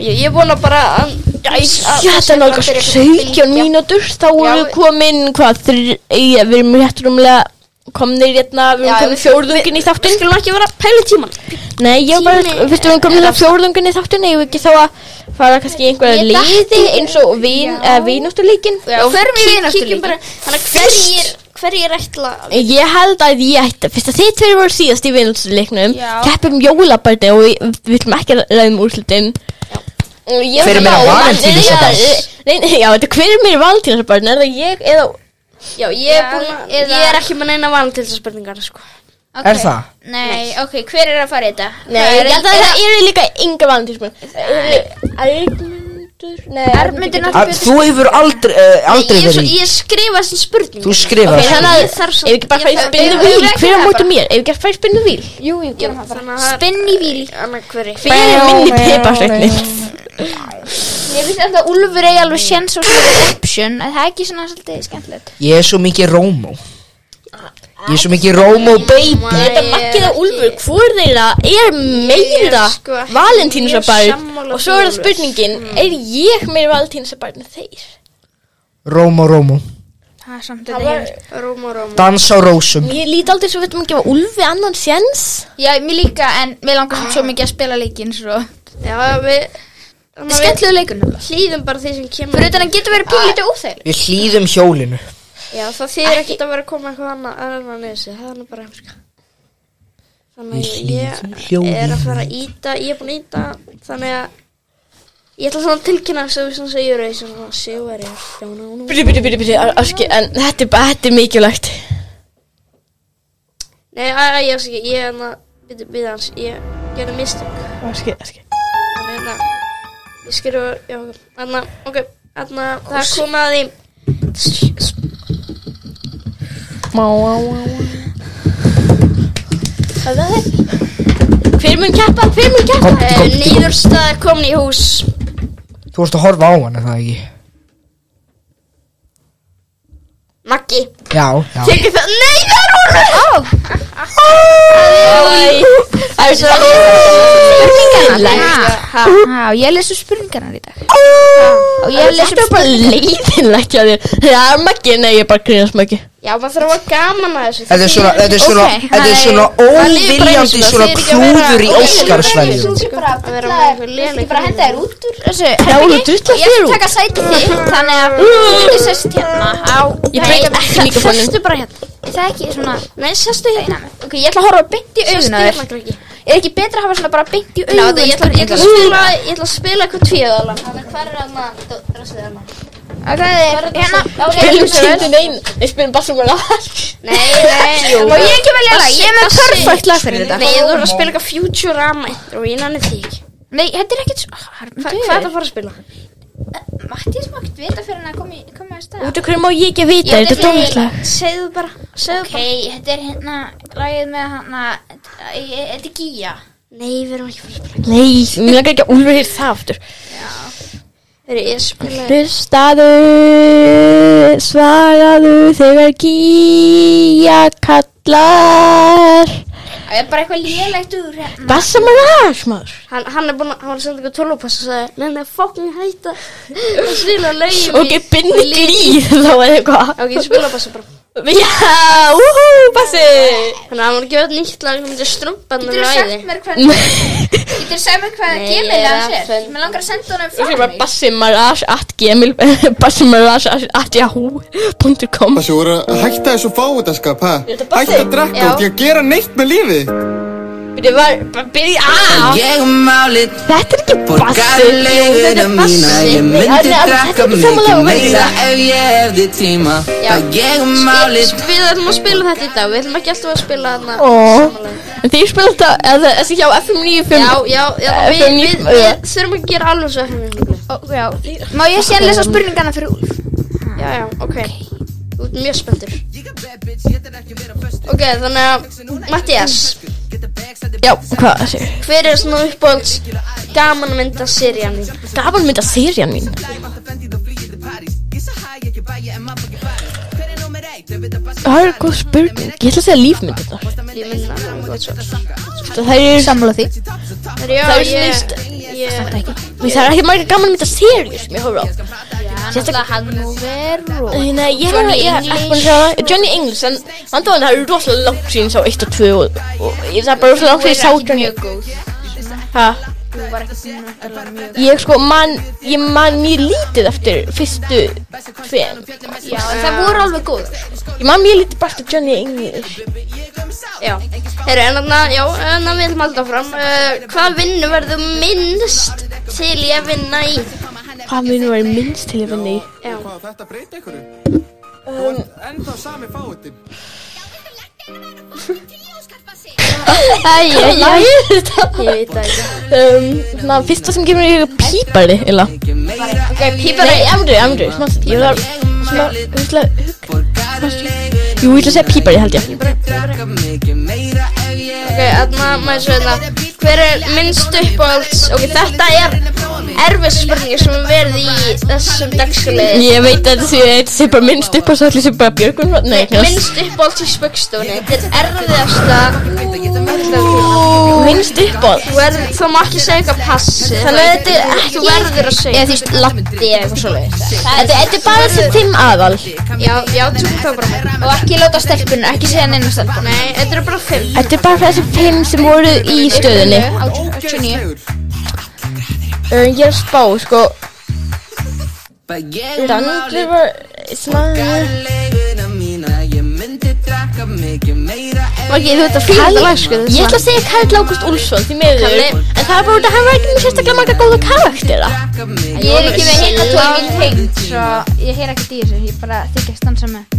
Speaker 1: Ég, ég vona bara að
Speaker 3: Já, þetta er nálgast 17 mínútur Þá erum við
Speaker 1: við- komin,
Speaker 3: komin Hvað, þrjir Við erum rétt rúmlega Komnir hérna Við
Speaker 1: Já,
Speaker 3: erum komin
Speaker 1: við-
Speaker 3: fjórðungin í
Speaker 1: Við
Speaker 3: þáttun
Speaker 1: skulum ekki vera að pæla í tíman
Speaker 3: Nei, ég var bara
Speaker 1: Tími-
Speaker 3: Fyrstu við erum komin í fjórðungin í þáttun Ég ekki þá að fara kannski í einhverja
Speaker 1: Ég
Speaker 3: liði
Speaker 1: dætti-
Speaker 3: Eins og vináttuleikin
Speaker 1: Já, förum í vináttuleikinn. Þannig að hverjir,
Speaker 3: Fyrst-
Speaker 1: hverjir ætla að-
Speaker 3: Ég held að ég ætti Fyrst að þið tveir voru síðast í vinnuleiknum
Speaker 6: Já.
Speaker 3: Keppum jólabarni og við við viljum ekki um ræðum úrslutin Hver
Speaker 2: Hver er meira Valentínusarbarn?
Speaker 3: Nei, nei, já, þetta hver er meira valentínsbarn Er það ég eða
Speaker 1: Já, ég er,
Speaker 6: Já,
Speaker 1: búin,
Speaker 6: eða-
Speaker 1: ég er ekki með neina valin til þessar spurningar sko.
Speaker 2: Er það?
Speaker 6: Nei, ok, hver er að fara í þetta?
Speaker 3: Nei,
Speaker 6: Það
Speaker 3: ég
Speaker 6: er
Speaker 3: held að
Speaker 6: engin-
Speaker 3: það eru líka yngar valentínsbarn Armundur Nei,
Speaker 6: Arnmundur
Speaker 3: getur-
Speaker 6: náttúrulega-
Speaker 2: Að Þú hefur aldrei, uh, aldrei
Speaker 1: Ég, ég,
Speaker 2: verið í
Speaker 1: ég skrifa þessum spurningar
Speaker 2: Þú skrifar
Speaker 3: Ok, þannig að
Speaker 6: hérna-
Speaker 1: Ég þarf
Speaker 3: Ef
Speaker 1: svo-
Speaker 3: við ekki bara
Speaker 1: ég
Speaker 3: fæði
Speaker 1: þarf-
Speaker 3: spinnu
Speaker 6: við-
Speaker 3: víl
Speaker 6: við-
Speaker 3: Hver er á
Speaker 6: við-
Speaker 3: móti mér? Ef við ekki fæði spinnu víl
Speaker 1: Spinn í víl Anna hverju
Speaker 3: Hver er minni piparsveiknin?
Speaker 6: Ég finnst alltaf að Úlfur eigi alveg séns og svona option að það er ekki svona svolítið skemmtilegt
Speaker 2: Ég er svo mikið Rómó Ég er svo mikið Rómó baby
Speaker 3: Þetta makkið og Úlfur, hvor þeirra er meira
Speaker 1: Ég er sko ekki mjög
Speaker 3: valentínusabær
Speaker 1: sammála Mm.
Speaker 3: og svo er það
Speaker 1: því, Úlfur.
Speaker 3: spurningin, er ég meira valentínusabær en þeir?
Speaker 2: Rómó, Rómó
Speaker 6: Það er samt þetta heimst
Speaker 1: Róm og róm
Speaker 2: Dans á rósum
Speaker 3: Ég líti aldrei svo við ætlum að gefa Úlfi annan séns
Speaker 6: Já, mér líka, en mér langar samt svo mikið að spila leikinn svo
Speaker 1: Já við
Speaker 6: Það er skemmtilegu leikunum
Speaker 1: Hlýðum bara því sem kemur
Speaker 6: Fyrir utan að getur verið pínlítið óþægileg
Speaker 2: Við hlýðum hjólinu
Speaker 1: Já það þýðir ekkert að vera að koma eitthvað annað annað neðs Það er nú bara heimska Þannig að
Speaker 2: hlýðum
Speaker 1: ég
Speaker 2: hljóðinu.
Speaker 1: er að fara að íta Ég er búin að íta Þannig að Ég ætla svona að tilkynna þess að við svona segjur Það er svona sigur ég Þjóna og nú
Speaker 3: Byrju, byrju, byrju, byrju, áski, en þetta er bara, þetta er mikilvægt
Speaker 1: Nei, að, að, ég er ekki Ég er hérna, að Býta, býta hans Ég gerði mistök
Speaker 3: Áski, áski
Speaker 1: Þannig hérna Ég skrifa Já, ok. þarna Ok, þarna Það kom að því
Speaker 3: Hver mun keppa, hver mun keppa?
Speaker 2: Kom,
Speaker 1: Eh,
Speaker 2: kom, kom
Speaker 1: Niðurstaða er komin í hús
Speaker 2: Þú vorst að horfa á hann, er það ekki?
Speaker 1: Maggi
Speaker 2: Já, já
Speaker 1: Tekur það Nei, það er hún
Speaker 3: Það er svo leiðinlegt
Speaker 6: Já, ég lesu spurningarnar í dag Og ég lesu
Speaker 3: Þetta er bara leiðinlegt hjá þér Það er maggi, nei, ég er bara að grínast maggi
Speaker 1: Já, maður þarf að hafa gaman að þessu
Speaker 2: Þetta er svona, þetta er svona,
Speaker 6: Ok,
Speaker 2: þetta er
Speaker 6: hæ.
Speaker 2: svona
Speaker 1: Það líður bara einu
Speaker 2: óviljandi
Speaker 1: sinni,
Speaker 2: svona
Speaker 1: það þýðir ekki að vera-
Speaker 2: klúður í
Speaker 1: Ok,
Speaker 2: Óskarsverðinum
Speaker 1: Þú bara að vera með eitthvað léleg
Speaker 6: bara henda þér út úr þessu
Speaker 3: Já,
Speaker 6: herbergi.
Speaker 3: þú drullar þér
Speaker 6: Ég ætla
Speaker 3: út.
Speaker 6: að taka sæti þitt Þannig að þú getur sest hérna á
Speaker 3: Ég breyta ekki mikrofónum
Speaker 1: Sestu bara hérna
Speaker 6: Er Það er ekki svona
Speaker 1: Nei, sestu hérna
Speaker 6: Ok, ég ætla að horfa beint í augun á þér
Speaker 1: Sestu hérna
Speaker 6: Er ekki betra að hafa svona bara beint í
Speaker 1: Ná,
Speaker 6: augun
Speaker 1: þetta, ég ætla ég ætla að spila Ég ætla að spila eitthvað tvíðala Þannig hvað er hann að Rastið hann
Speaker 6: Ok, hérna
Speaker 3: Spilum kindin einn Nei, spilum bara svona lag
Speaker 1: Nei, nei
Speaker 6: Má ég ekki velja lag? Ég er með perfect lag fyrir þetta.
Speaker 1: Nei, þú voru að spila eitthvað Futurama Og ég nanni því ekki
Speaker 6: Nei, þetta er ekkert svo
Speaker 1: Hva- Hvað er það að fara að spila?
Speaker 6: Mattias má ekkert vita fyrir hann að koma, í- koma í stað
Speaker 3: Út af hverju má ég ekki vita, þetta er tónlislag
Speaker 6: Segðu bara, segðu okay, bara Ok, þetta er hérna lagið með hana Þetta er Gíja
Speaker 1: Nei, við erum ekki fyrir að spila
Speaker 3: Nei, mér langar ekki að Úlfur hér það aftur
Speaker 1: Við erum ég að spila
Speaker 3: Hlustaðu, svaraðu þegar gíja kallar
Speaker 6: Það er bara eitthvað lélegt úr hérna
Speaker 3: Bassa maður aðeins maður
Speaker 1: Hann, hann er búinn að, hann var að senda ykkur tólópass og sagði Nei, nei, fokkin hætta að spila lögin
Speaker 3: Ok, binni glýð þá er eitthvað
Speaker 1: Ok, spila bara svo bara
Speaker 3: Já, úhú, bassi
Speaker 1: Þannig að hann var að gefa þetta nýtt lag Hún myndi strumpa hann
Speaker 6: Getur
Speaker 1: úr
Speaker 6: þú
Speaker 1: æði
Speaker 6: sagt mér hvað Getur þú sagt mér hvað
Speaker 1: Nei, ég
Speaker 6: gemið
Speaker 1: er
Speaker 6: það sér
Speaker 1: að fund-
Speaker 6: Mér langar að senda honum
Speaker 3: Ég
Speaker 6: frá
Speaker 3: sé bara
Speaker 6: mig
Speaker 3: bassi maður aðeins at gemil Bassi maður aðeins at yahoo.com
Speaker 7: Þessi voru að hætta þessu fávitaskap, ha? Hætta að drekka út í að gera neitt með lífið.
Speaker 3: Þetta var, ah! bara byrja á
Speaker 2: Ég málið
Speaker 3: Þetta er ekki bassi
Speaker 2: borgarlegur að mína Ég myndi
Speaker 3: Þetta er
Speaker 2: drakka
Speaker 3: ekki sama lag
Speaker 2: mikið
Speaker 3: og
Speaker 2: meira
Speaker 3: meira.
Speaker 2: ef ég hefði tíma Það ég málið
Speaker 1: Við ætlum að spila þetta í dag Við ætlum ekki alltaf að spila þarna
Speaker 3: Ó.
Speaker 1: sama lag.
Speaker 3: En þeir spila þetta, eða þessi hjá FM 95
Speaker 1: Já, já, já
Speaker 3: Eh,
Speaker 1: Við,
Speaker 3: fyrir
Speaker 1: við,
Speaker 3: nýtt-
Speaker 1: við, við þurfum að gera alveg svo hérna. ekki
Speaker 6: Ó, já. Má ég sé að lesa spurningana fyrir Úlf
Speaker 1: Já, já, ok Þú ert mjög spenntur Ok, þannig að Mattias,
Speaker 3: Já, hvað það séu?
Speaker 1: hver er svona uppáhalds gaman mynda serían þín?
Speaker 3: Gaman mynda serían mín Það er góð spurning Ég ætla að segja lífmyndirnar
Speaker 1: Ég mynda það, gott svar
Speaker 3: Það er
Speaker 6: Samla því
Speaker 1: Herra, Já,
Speaker 3: Það er
Speaker 1: ég,
Speaker 3: snýst-
Speaker 1: ég
Speaker 3: Mér það er ekki marga gaman mynda seríur sem ég horfa á
Speaker 6: Sérstaklega hann nú veru
Speaker 3: Nei, nei, ég hef ég hef ekki búin að sjá það. Johnny English, en vandavann það er rosalega langt síðan ég sá 1 og 2 og, og ég- það er bara rosalega langt síðan ég sá Johnny
Speaker 6: mjög góð
Speaker 3: Ha,
Speaker 6: Þú var ekki svona náttúrulega mjög
Speaker 3: ég sko man, ég man mjög lítið eftir fyrstu tveim
Speaker 6: Já, en það voru alveg góð
Speaker 3: Ég man mjög lítið bara eftir Johnny English
Speaker 1: Já, herru, en þarna, já, en það við ætlum alltaf fram uh, Hvað vinnu verður minnst til ég að vinna í?
Speaker 3: Hvað mun var minnst til að vinna í?
Speaker 1: Já,
Speaker 7: Hvað á þetta breyta einhverju?
Speaker 8: Um,
Speaker 7: Þú ert ennþá sami fávitin.
Speaker 1: Æ, ég, ég,
Speaker 3: Lægir þetta?
Speaker 1: ég veit það ekki
Speaker 3: Um, svona, fyrsta sem kemur í hug er pípari, illa
Speaker 1: Ok, pípari,
Speaker 3: Nei, emru, emru, smá Ég var að, svona, hugla, hug Jú, ég ætla að segja pípari, held ég
Speaker 1: ok, þarna, maður svo þetta Hver er minnst uppáhalds? Ok, þetta er erfið spurningi sem við verði í þessum dagskjöliði
Speaker 3: Ég veit að þetta sé, þetta sé bara minnst upp á svo allir sem bara björgun Nei, knast
Speaker 1: Minnst uppáhalds í spöggstofunni Þetta er erfiðasta
Speaker 3: Minnst upp á
Speaker 1: Þú verð, þú má ekki segja eitthvað passi Þannig að þetta er ekki verður að segja Ég þýst lappi eða eitthvað svo
Speaker 3: Þetta þetta er bara þessi fimm aðal
Speaker 1: Já, já, tökum það bara með
Speaker 6: Og ekki láta stelpunum, ekki segja neina stelpunum
Speaker 1: Nei, þetta eru bara fimm
Speaker 3: Þetta er bara þessi fimm sem voru í stöðunni
Speaker 7: Ógeðslegur.
Speaker 3: um, Ég er að spá, sko Randli var, svona
Speaker 1: Ok, þú veit að fíla lag, sko
Speaker 3: Ég ætla að segja Karl Ágúst Úlfsson því miður
Speaker 1: Kalli.
Speaker 3: En það er bara út að hann var ekki með sérstaklega marga góða karaktera
Speaker 6: Ég er ekki með hinna tókin tengd Svo ég heyr ekkert í þessu Ég bara þykja stansa með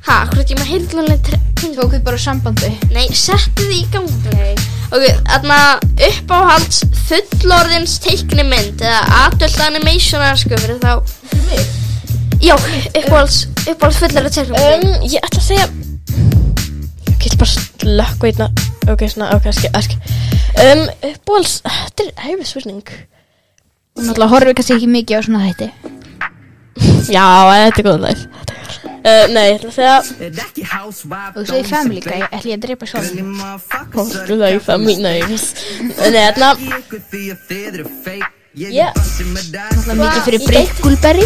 Speaker 1: Hæ, hvað er ekki með heyrðlanlega
Speaker 6: Tók við bara úr sambandi
Speaker 1: Nei, settu þið í gang Nei. Ok, þarna uppáhalds fullorðins teiknimynd Eða adult animation, eða sko, fyrir þá Fyrir mig? um, Já, uppáhalds, uppáhalds fullorðins teiknimynd
Speaker 3: um, Ég ætla að segja Ég get bara slökk veitna Ok, svona, ok, ah, eski, eski um, Uppbóls, þetta er hæfið spurning
Speaker 6: Þú náttúrulega horfir kannski ekki mikið á svona þætti
Speaker 3: Já, þetta er góð leið Þetta er góð. uh, Nei, ég ætla að segja
Speaker 6: Og svo í family guy, ætli ég að drepa svo
Speaker 3: Hóttu það í family names Nei, þarna Yeah.
Speaker 6: Mikið fyrir breykkulberri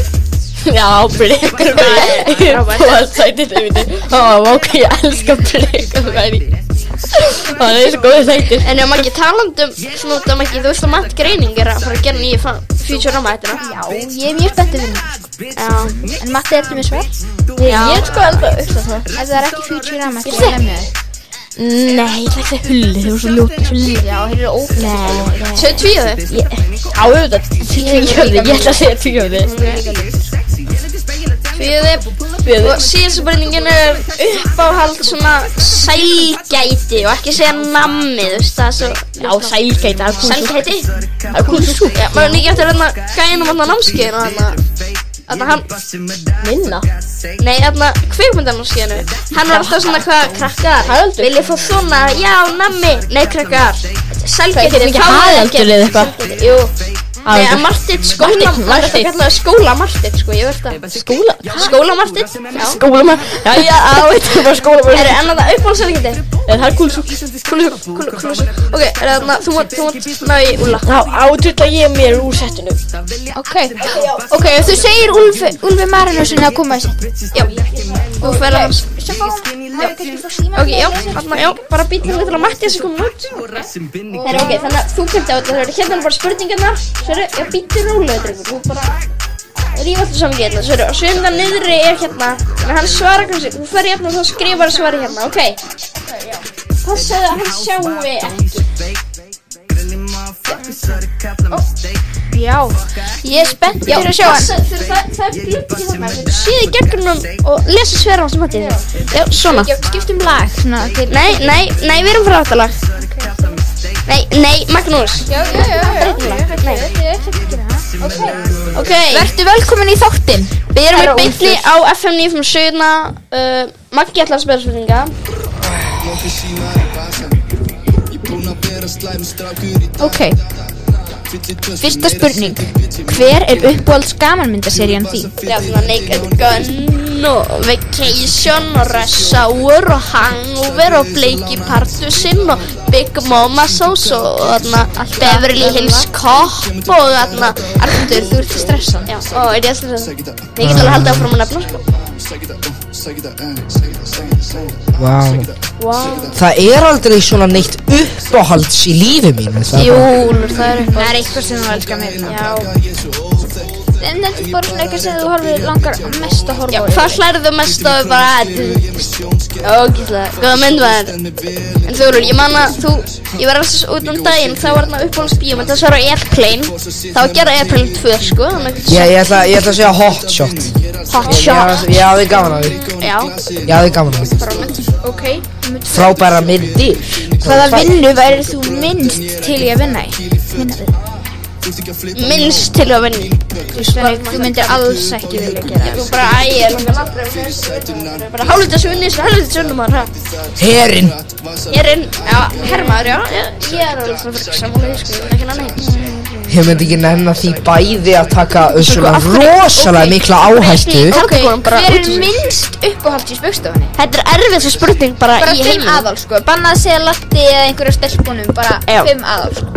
Speaker 3: Já, blikkur væri Uppbóls, sætið þið viti Ó, ok, ég elska blikkur væri Það er svo góðið sætið
Speaker 1: En ef maður ekki talandi um, svona út af maður ekki, þú veist að Matt Greining er að fara að gera nýju fan- Futurama hættina
Speaker 6: Já, ég er mjög spenntið fyrir hann
Speaker 1: Já,
Speaker 6: En Matti, ertu með svar?
Speaker 3: Ég er sko ennþá uppstáð það.
Speaker 6: Ef það er ekki Futurama, ekki ég lemja þig
Speaker 3: Nei, ég ætla ekki að hulli, þú er svo ljótt hulli.
Speaker 6: Já, þeir eru ógæst
Speaker 1: þau tvíðu
Speaker 3: Á auðvitað, tvíhjöfði, ég ætla að segja tvíhjöfði.
Speaker 1: Tvíðu
Speaker 3: Við
Speaker 1: Og síðan spurningin er uppáhald svona sælgæti og ekki segja nammi, þú veist, það er svo
Speaker 3: Já, sælgæti, það er kúl svo-
Speaker 1: Sælgæti?
Speaker 3: Það er kúl svo kúl
Speaker 1: Já, maður er ekki eftir hérna gæðinum hérna námskeiðinu hérna Þannig hann,
Speaker 3: Minna
Speaker 1: nei, hérna kvikmyndarnámskeiðinu Hann var alltaf svona hvað, krakkar,
Speaker 3: Haraldur.
Speaker 1: vil ég fá svona, já, nammi, nei, krakkar
Speaker 3: Hvað,
Speaker 1: Sælgæti,
Speaker 3: hét hann ekki
Speaker 1: fáið
Speaker 3: Haraldur
Speaker 1: ekkert.
Speaker 3: eða eitthvað?
Speaker 1: Sælgæti, Jú, nei, sko,
Speaker 3: Haraldur.
Speaker 1: að Martit, skóla,
Speaker 3: Marteinn,
Speaker 1: það er
Speaker 3: Marteinn.
Speaker 1: eitthvað kallaði skóla Martit, sko, ég veit það
Speaker 3: Skóla
Speaker 1: Skóla Martit, já
Speaker 3: Skóla maður Já, já, á, þetta er bara skóla
Speaker 1: Er
Speaker 3: maður
Speaker 1: það annað það uppáhaldsælgæti?
Speaker 3: Það er kúl svo
Speaker 1: Kúlusúk, kúlusúk, kúlusúk Ok, er það þarna, þú mátt, þú mátt ná í Úlla
Speaker 3: Þá átrilla ég mér úr settinu
Speaker 6: Ok, ok, ef þú segir Úlfi, Úlfi Marinusin að koma í sett
Speaker 1: Já, þú fer að hans
Speaker 6: Sem fá hann, hefur kannski frá síma
Speaker 1: Ok, já, þarna, já, bara býtið litla Matti þessi komið út Það er ok, þannig að þú kemst á þetta, það eru hérna bara spurningarnar Svo eru, já, býtið rólega, drengur, þú bara Rífa þetta saman hérna, svo eru, og svo um það niðri er hérna Þannig að hann svarar kannski, þú fer hérna og þá skrifar svarið hérna, ok Passaðu að hann sjáu ekki
Speaker 6: Já, ég er spennt fyrir að sjá hann
Speaker 1: passa- fyrir það, það er glöggt í þarna Síði gegnum og lesa sverðan sem Matti Já, svona
Speaker 6: Já, Skiptum lag svona til
Speaker 1: Nei, nei, nei, við erum frá þetta lag Nei, nei, Magnús
Speaker 6: Já, já, já, já
Speaker 1: Ok,
Speaker 6: Vertu velkomin í þáttinn
Speaker 1: við erum í byggli á FM 957 uh, Maggi ætlar að spila spurninga
Speaker 6: Ok Fyrsta spurning Hver er uppáhalds gamanmyndaserían þín?
Speaker 1: Já, svona Naked Gun og Vacation og Rush Hour og Hangover og Blakey Partusinn og Big Mama Sauce og þarna Beverly Hills Cop og þarna Artur, þú ert stressað Já, ó, er ég stressað? Ég get alveg haldið áfram að nefna sko
Speaker 2: Vá Það er aldrei svona neitt uppáhalds í lífi mínu það
Speaker 1: Jú,
Speaker 2: er
Speaker 1: Úlfur, það er eitthvað
Speaker 6: Það er eitthvað sem þú elskar mér
Speaker 1: Já
Speaker 6: En þetta er bara svona eitthvað sem þú horfir langar mest að
Speaker 1: Já,
Speaker 6: horfa á
Speaker 1: hvað hlærðu mest að við bara Ógíslega, góða mynd var En þú Úlfur, ég man að þú Ég var alls út um daginn, þá var þarna uppáhalds bíómynd Það var á Airplane Það var að gera Airplane 2, sko þannig
Speaker 2: Ég,
Speaker 1: að-
Speaker 2: ég, ætla, ég ætla að segja hot shot
Speaker 1: Hot
Speaker 2: Ég,
Speaker 1: shot
Speaker 2: ég, ég hafði gaman að því
Speaker 1: Já,
Speaker 2: Ég hafði gaman að því
Speaker 6: Ok
Speaker 2: Frábæra myndir
Speaker 6: Hvaða vinnu væri þú minnst til í að vinna í?
Speaker 1: minnst til að vinni
Speaker 6: Þannig þú myndir alls ekki vilja gera
Speaker 1: Þú bara, æ, ég er langar aldrei að vinna. Bara hálfvita svinni, svo hálfvita svinnum hann, hæ
Speaker 2: Herin
Speaker 1: Ég er inn, já, hermaður, já Ég ég er alveg svona fyrir sammála, ég sko, ég er ekki annað eins
Speaker 2: Ég myndi ekki nefna því bæði að taka uh, svona
Speaker 1: af hverju-
Speaker 2: rosalega
Speaker 1: ok.
Speaker 2: mikla áhættu
Speaker 1: Ok,
Speaker 6: Hver er minnst uppáhalds í spöggstofunni?
Speaker 1: Þetta er erfið svo spurning bara
Speaker 6: Bara
Speaker 1: í
Speaker 6: fimm
Speaker 1: heiminum
Speaker 6: aðal sko Bannað að segja latti eða einhverja stelpunum Bara
Speaker 1: Já.
Speaker 6: fimm aðal sko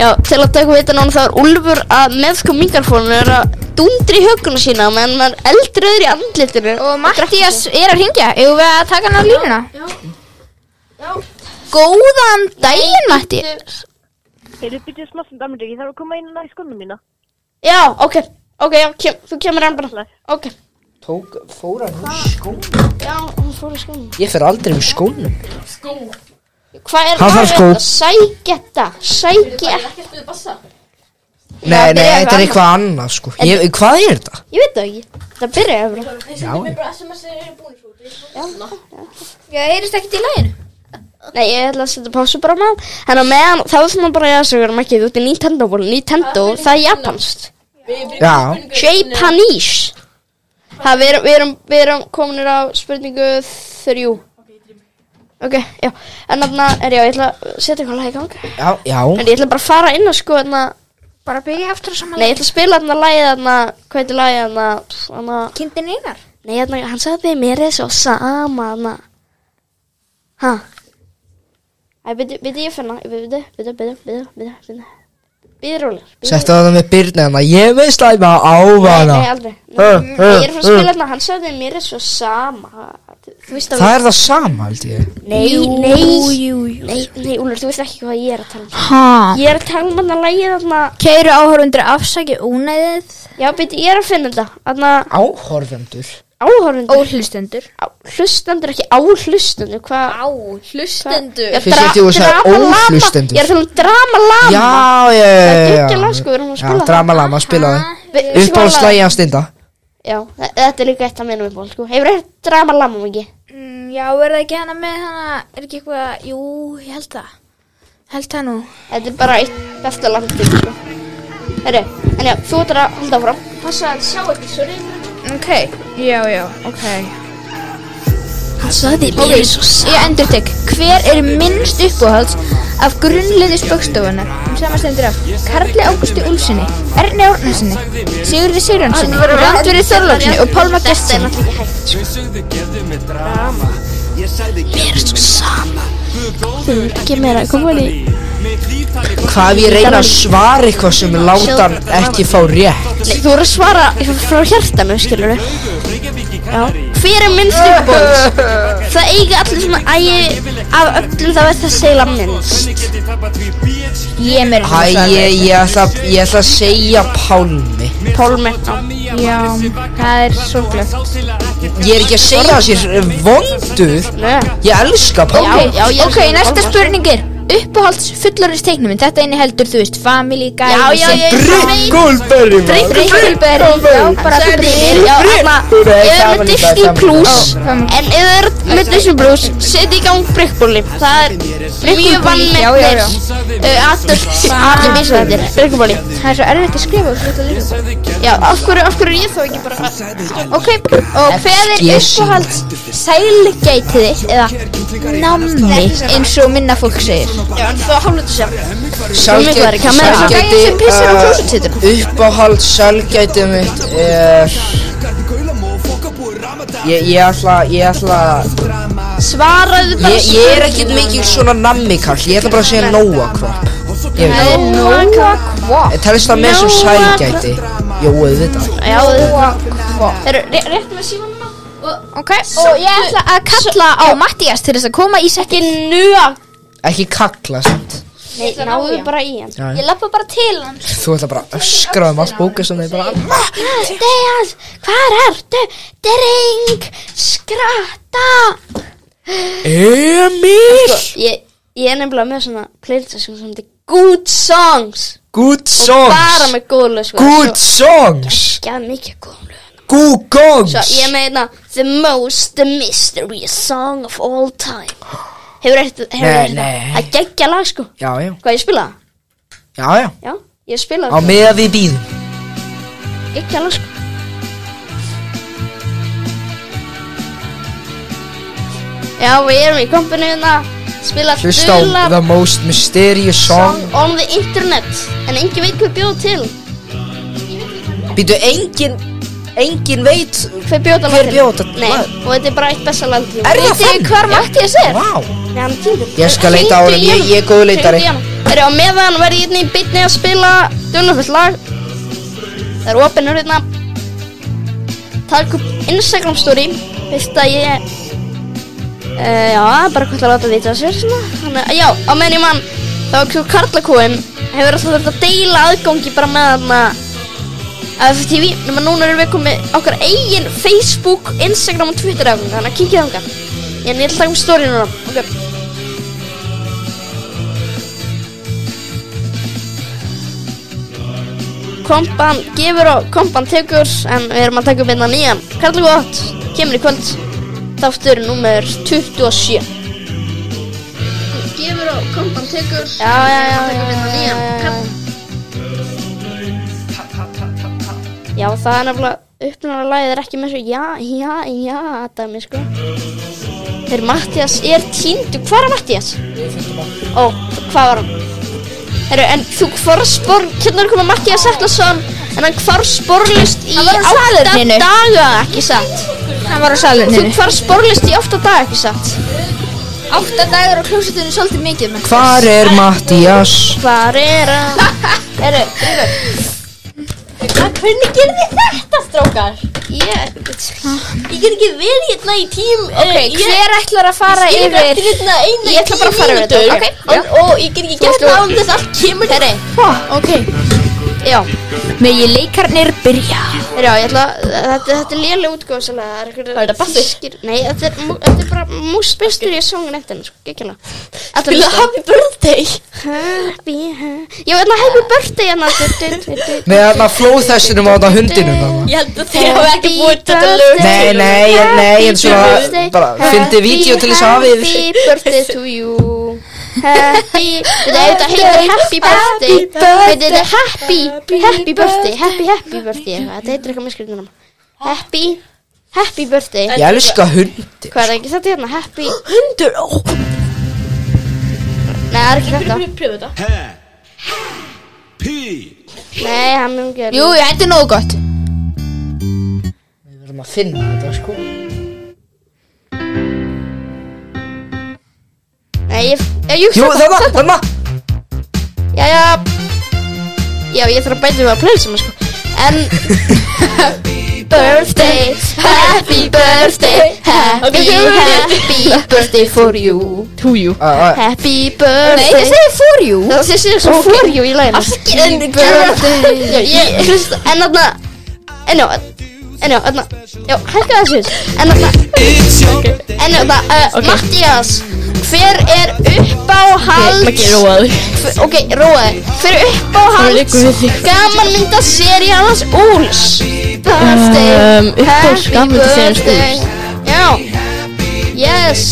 Speaker 1: Já, til að taka vita núna þá er Úlfur að með sko mingarfónu er að dundri í höguna sína meðan maður er eldröður í andlitinu
Speaker 6: Og Mattias er að ringja Eða við að taka hann á línuna? Já, já. Góðan daginn Matti
Speaker 9: Heyrðu, byrjuðu smá sem dammir, ég þarf að koma inn og ná í skonum mína.
Speaker 1: Já, ok, ok, já, kem, þú kemur enn bara Ok,
Speaker 2: Tók, fóra hún skónum
Speaker 1: já, hún fór í skónum
Speaker 2: Ég fer aldrei um skónum
Speaker 1: Hvað er
Speaker 2: Hann þarf skó.
Speaker 1: þetta? Sægetta, sægetta
Speaker 2: Nei, nei,
Speaker 1: byrjaði
Speaker 2: þetta
Speaker 1: eitthvað
Speaker 2: er eitthvað annað sko ég, Hvað er þetta?
Speaker 1: Ég veit það ekki, það byrjaði bara
Speaker 2: Já,
Speaker 1: sko.
Speaker 6: Já, heyrist ekkert í læginu?
Speaker 1: Nei, ég ætla að setja pásu bara með En á meðan, þá er það bara að jæsa ykkur makkið út í Nintendo ból Nintendo, það er japanskt
Speaker 2: já
Speaker 1: Japanese Það, við erum, við erum, við erum kominir á spurningu þrjú Ok, já En þarna, er já, ég ætla að setja eitthvað lag í gang
Speaker 2: Já, já
Speaker 1: En ég ætla bara að fara inn og sko þarna
Speaker 6: Bara byrja aftur á saman
Speaker 1: Nei, ég ætla að spila þarna lagið þarna Hvað heitir lagið þarna pff, þarna
Speaker 6: Kindin einar
Speaker 1: Nei, þarna, hann sagði við mér er svo sama þarna Ha Æ, byrju, byrju, ég finna Byrju, byrju, byrju, byrju, byrju, byrju Byrju rólir bíddu
Speaker 2: Settu það með byrni hana Ég veist slæma
Speaker 1: Nei,
Speaker 2: ávana
Speaker 1: nei, aldrei
Speaker 2: Uh,
Speaker 1: Nei, Ég er frá að
Speaker 2: uh,
Speaker 1: spila hérna, hann sagði mér er svo sama Þú veist að
Speaker 2: Það er það sama, held ég
Speaker 1: Nei, nei, nei, nei, Úlur, þú veist ekki hvað ég er að tala um
Speaker 6: Ha
Speaker 1: Ég er að tala um hann að lægið þarna
Speaker 6: Keiru áhörundur afsaki ónæðið
Speaker 1: Já, beti, ég er að finna þetta Þarna
Speaker 2: Áhorfendur
Speaker 1: áhörundur
Speaker 6: Óhlustendur
Speaker 1: Á- Hlustendur, ekki áhlustendur Hvað?
Speaker 6: Áhlustendur
Speaker 1: Já,
Speaker 2: Fyrst
Speaker 1: dra-
Speaker 2: þetta ég að segja
Speaker 1: drama lama.
Speaker 2: óhlustendur.
Speaker 1: Ég er að tala um drama lama
Speaker 2: Já, já, já,
Speaker 1: Það er
Speaker 2: já,
Speaker 1: geggjað lag, sko, við erum að spila
Speaker 2: Já,
Speaker 1: það.
Speaker 2: drama lama, spila það
Speaker 1: Við
Speaker 2: Uppáhaldslægi hans stinda
Speaker 1: Já, þe- þetta er líka eitt af mínum uppáhald sko. Hefur þetta drama lamma mikið?
Speaker 6: Mm, Já, er það ekki hana með hana, er ekki eitthvað, jú, ég held það. Held það nú.
Speaker 1: Þetta er bara eitt besta landi sko. Herru, en já, þú ætlar að halda áfram Passa að sjá ekki svo reyna
Speaker 6: Ok, já, já, ok.
Speaker 1: Hann sagði
Speaker 6: Ok, ég endur tek. Hver er minnst uppáhalds af grunnliði spöggstofunar? Um samastendur af Karli Águsti Úlsinni, Erni Árnarsinni, Sigurði Sigurjónsinni, Randveri Þorlóksinni og Pálma
Speaker 1: Þetta er
Speaker 6: Gertsinni.
Speaker 1: náttúrulega ekki hægt
Speaker 2: Hvað ef ég reyna að svara eitthvað sem látan ekki fá rétt
Speaker 1: Nei, Þú voru að svara frá hjartanu, skilur við Já Hver er minnst uppbóðs? Það eiga allir svona ægi Af öllum það verð það segla minnst
Speaker 6: Ég er mér.
Speaker 2: Hæ, ég, ég, ætla, ég ætla að segja Pálmi
Speaker 1: Pálmi Já,
Speaker 6: Já, það er sorglegt.
Speaker 2: Ég er ekki að segja það sér eh, vondur Ég elska Pálmi
Speaker 1: já, ég er
Speaker 6: Ok,
Speaker 1: svona
Speaker 6: næsta
Speaker 1: Pálma.
Speaker 6: spurning er uppáhalds fullorins teiknuminn. Þetta eini heldur, þú veist, Family Guy.
Speaker 1: Já, já,
Speaker 6: Simpsons.
Speaker 1: ég
Speaker 2: Rick Goldberry maður.
Speaker 6: Breytilberg, já, bara
Speaker 1: Sagði
Speaker 6: Breytilberg.
Speaker 1: þér, já, hérna
Speaker 2: Þú veist,
Speaker 1: Ég er
Speaker 2: Family
Speaker 1: með
Speaker 2: Guy,
Speaker 1: Disney
Speaker 2: Family
Speaker 1: Plus
Speaker 6: Guy. Ó,
Speaker 1: En ef þið er með Disney Plus Setið í gang brickbóli Það er mjög uh,
Speaker 6: já, já, já.
Speaker 1: vannmennir Atur, atur vísvættir Brickbóli
Speaker 6: Það er svo erfitt að skrifa og sluta líka.
Speaker 1: Já, af hverju, af hverju er ég þá ekki bara
Speaker 6: Ok, og hvað er
Speaker 2: FGC.
Speaker 6: uppáhalds sælgætiði eða nammi eins og minna fólk segir?
Speaker 1: Já, en það hálfur þetta sem
Speaker 2: Sælgæti
Speaker 1: Miklar, hvað með það?
Speaker 2: sælgæti,
Speaker 6: Gæinn sem pissar á
Speaker 2: uh,
Speaker 6: klósettinu.
Speaker 2: Uppáhald sælgæti mitt er Ég, ég ætla, ég ætla
Speaker 1: Svaraðu bara
Speaker 2: Ég, ég er ekkert mikið svona nammi kall Ég ætla bara að segja Nóa kropp Ég veit
Speaker 6: er nóga kvop.
Speaker 2: það Telst það með sem sælgæti Jó, auðvitað
Speaker 1: Já,
Speaker 6: Nóa kvop.
Speaker 1: þeir eru rétt með símanum
Speaker 6: Ok, og ég ætla að kalla á Mattias til þess að koma í sekkin.
Speaker 1: Nua
Speaker 2: Ekki kalla samt
Speaker 1: Nei, náðu bara í hann
Speaker 2: Já, já.
Speaker 6: Ég lappa bara til hans.
Speaker 2: Þú ætla bara að öskra um allt bóka sem þið bara
Speaker 6: Mattias, hvar ertu? Dreng, skratta.
Speaker 2: Emil
Speaker 1: Ég, ég er nefnilega með svona playlist sem sem þetta Good Songs
Speaker 2: Good
Speaker 1: Og bara
Speaker 2: songs
Speaker 1: með góð lög sko
Speaker 2: Good songs
Speaker 1: Gæð mikið góð lög
Speaker 2: Good
Speaker 1: Svo
Speaker 2: gongs
Speaker 1: ég meina The most mysterious song of all time Hefur eftir
Speaker 2: Nei,
Speaker 1: Hefur eftir
Speaker 2: nei.
Speaker 1: Það geggja lag sko
Speaker 2: Já, já,
Speaker 1: Hvað ég spila það?
Speaker 2: já, já
Speaker 1: Já, ég spila
Speaker 2: Á
Speaker 1: það
Speaker 2: meða við býðum
Speaker 1: Geggja lag sko Já, við erum í kompinu hérna Spila
Speaker 2: Hlust á
Speaker 1: dula-
Speaker 2: The Most Mysterious Song
Speaker 1: song on the internet En engin veit hvað bjóð til
Speaker 2: Býtu, engin, engin veit
Speaker 1: Hver bjóð það
Speaker 2: Hver
Speaker 1: til?
Speaker 2: bjó þetta
Speaker 1: Nei,
Speaker 2: lag?
Speaker 1: og þetta er bara eitt besta land til
Speaker 2: Er það
Speaker 6: Vitið
Speaker 2: þannig?
Speaker 6: hvar Mattias er?
Speaker 2: Vá
Speaker 1: Nei, hann týndur
Speaker 2: Ég skal leita á honum, ég, ég er góðu leitari
Speaker 1: Er á meðan verði hérna í bitni að spila Dölufullt lag Það er opinur hérna Takk upp Instagram story Veist að ég uh, Já, bara hvað það láta vita af sér svona. Þannig, að- Já, á meðan ég mann Það var kjóð karlakóin Hefur alltaf þurft að deila aðgangi bara með hann FTV Númer núna erum við komið okkar eigin Facebook, Instagram og Twitter aðgang Þannig að kíkja þangað En ég ætla að taka um story núna Ok kompan gefur og kompan tekur en við erum að taka upp einna nýjan Karl Gótt, kemur í kvöld þáttur nummer 27 gefur og kompan tekur já, já, já, já, já, já, já. já, það er nefnilega uppnáðan lagið er ekki með svo já, já, já, dæmi sko þeir Mattias er týndu hvað er Mattias? ó, hvað var hann? Heru, en þú kvarspor, hérna er komið Mattias Atlasson En hann kvarsporlist í
Speaker 6: Hann var á
Speaker 1: átta
Speaker 6: salerninu.
Speaker 1: daga, ekki satt
Speaker 6: Hann var á
Speaker 1: Þú
Speaker 6: saluninu.
Speaker 1: kvarsporlist í átta daga, ekki satt
Speaker 6: Átta dagar á klósettinu er svolítið mikið. menn.
Speaker 2: Hvar er Mattias?
Speaker 1: Hvar er hann?
Speaker 6: Heyrðu,
Speaker 3: Að hvernig gerði þetta, strákar?
Speaker 1: Ég, ég get ekki verið hérna í tím
Speaker 3: eh,
Speaker 6: Ok, hver ætlar að fara
Speaker 3: Ég er
Speaker 6: yfir?
Speaker 3: eftir hérna eina
Speaker 1: Ég ætla bara að fara yfir þetta,
Speaker 3: Sko, Og ég get ekki gert það án þess allt kemur
Speaker 1: Herri,
Speaker 3: Ok,
Speaker 1: já,
Speaker 6: Megi leikarnir byrja
Speaker 1: Já, ég ætla að, þetta, þetta er lélega útgóðsala Það er eitthvað
Speaker 3: Er þetta bassi?
Speaker 1: skýr- Nei, þetta er, mú- þetta er bara múst bestur í sjóngun eftir henni, sko, gekkjala Þetta
Speaker 3: Vilja happy birthday
Speaker 1: Happy, happy Ég veit að happy birthday hérna du- du- du- du-
Speaker 2: Nei, þarna flóð þessinum á þetta hundinum þarna.
Speaker 3: Ég held að þið hafa ekki búið þetta lög
Speaker 2: Nei, nei, ég- nei, ég er svona bara fyndi vídeo til þess að hafi yfir.
Speaker 1: Happy birthday to you Happy Þetta þetta heitir happy birthday Þetta þetta er happy Happy birthday Happy happy birthday eitthvað. Þetta heitir eitthvað með skrifnum Happy Happy birthday
Speaker 2: Ég elska hundi
Speaker 1: Hvað er það ekki þetta hérna? Happy
Speaker 3: Hundur, ó,
Speaker 1: Nei, það er ekki þetta
Speaker 3: við pröfum þetta
Speaker 1: Nei, hann um mun gera
Speaker 6: Jú, ég hætti nógu gott
Speaker 2: Við verðum að finna þetta sko
Speaker 1: Nei, ég Já, jú,
Speaker 2: Jú,
Speaker 1: þetta
Speaker 2: þarna, þarna
Speaker 1: Já, já Já, ég þarf að bæta mig að plöðsum sko. En Birthday Happy birthday Happy, happy birthday for you
Speaker 2: Æ, æ,
Speaker 1: Happy birthday Nei, það segir for you Það segir segir svo for you í læginu Happy birthday Já, ég hlusta En þarna En já En já, þarna Já, hækka þessu En þarna En þarna uh, Mattias Hver er uppáhalds
Speaker 3: Maggi er óaður
Speaker 1: Hver- Ok, róaði Hver er uppáhalds Gaman mynda seríalans Úls Birthday
Speaker 3: Um, uppáhalds
Speaker 1: Happy
Speaker 3: gamanmyndaseríans
Speaker 1: birthday. Já Yes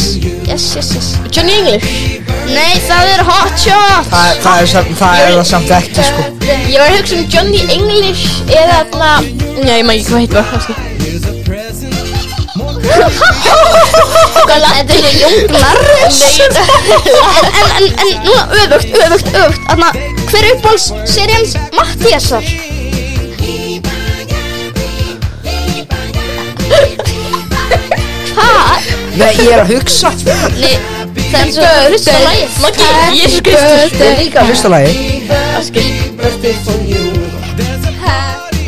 Speaker 1: Yes, yes, yes
Speaker 3: Johnny English
Speaker 1: Nei, það er hot shots
Speaker 2: Það það er samt- það er það samt ekki sko
Speaker 3: Ég var að hugsa um Johnny English eða alla Nei, ég maður ekki hvað heitir var kannski.
Speaker 1: Þetta er junglar en, en, en, en núna öfugt, öfugt, öfugt Þannig að hver er uppáhalds seríans Mattiasar? Hvað?
Speaker 2: Nei, ég er að hugsa
Speaker 1: Nei, það er svo hlusta lægið
Speaker 3: Maggi, Jésu Kristus
Speaker 2: Ég er líka að hlusta lagi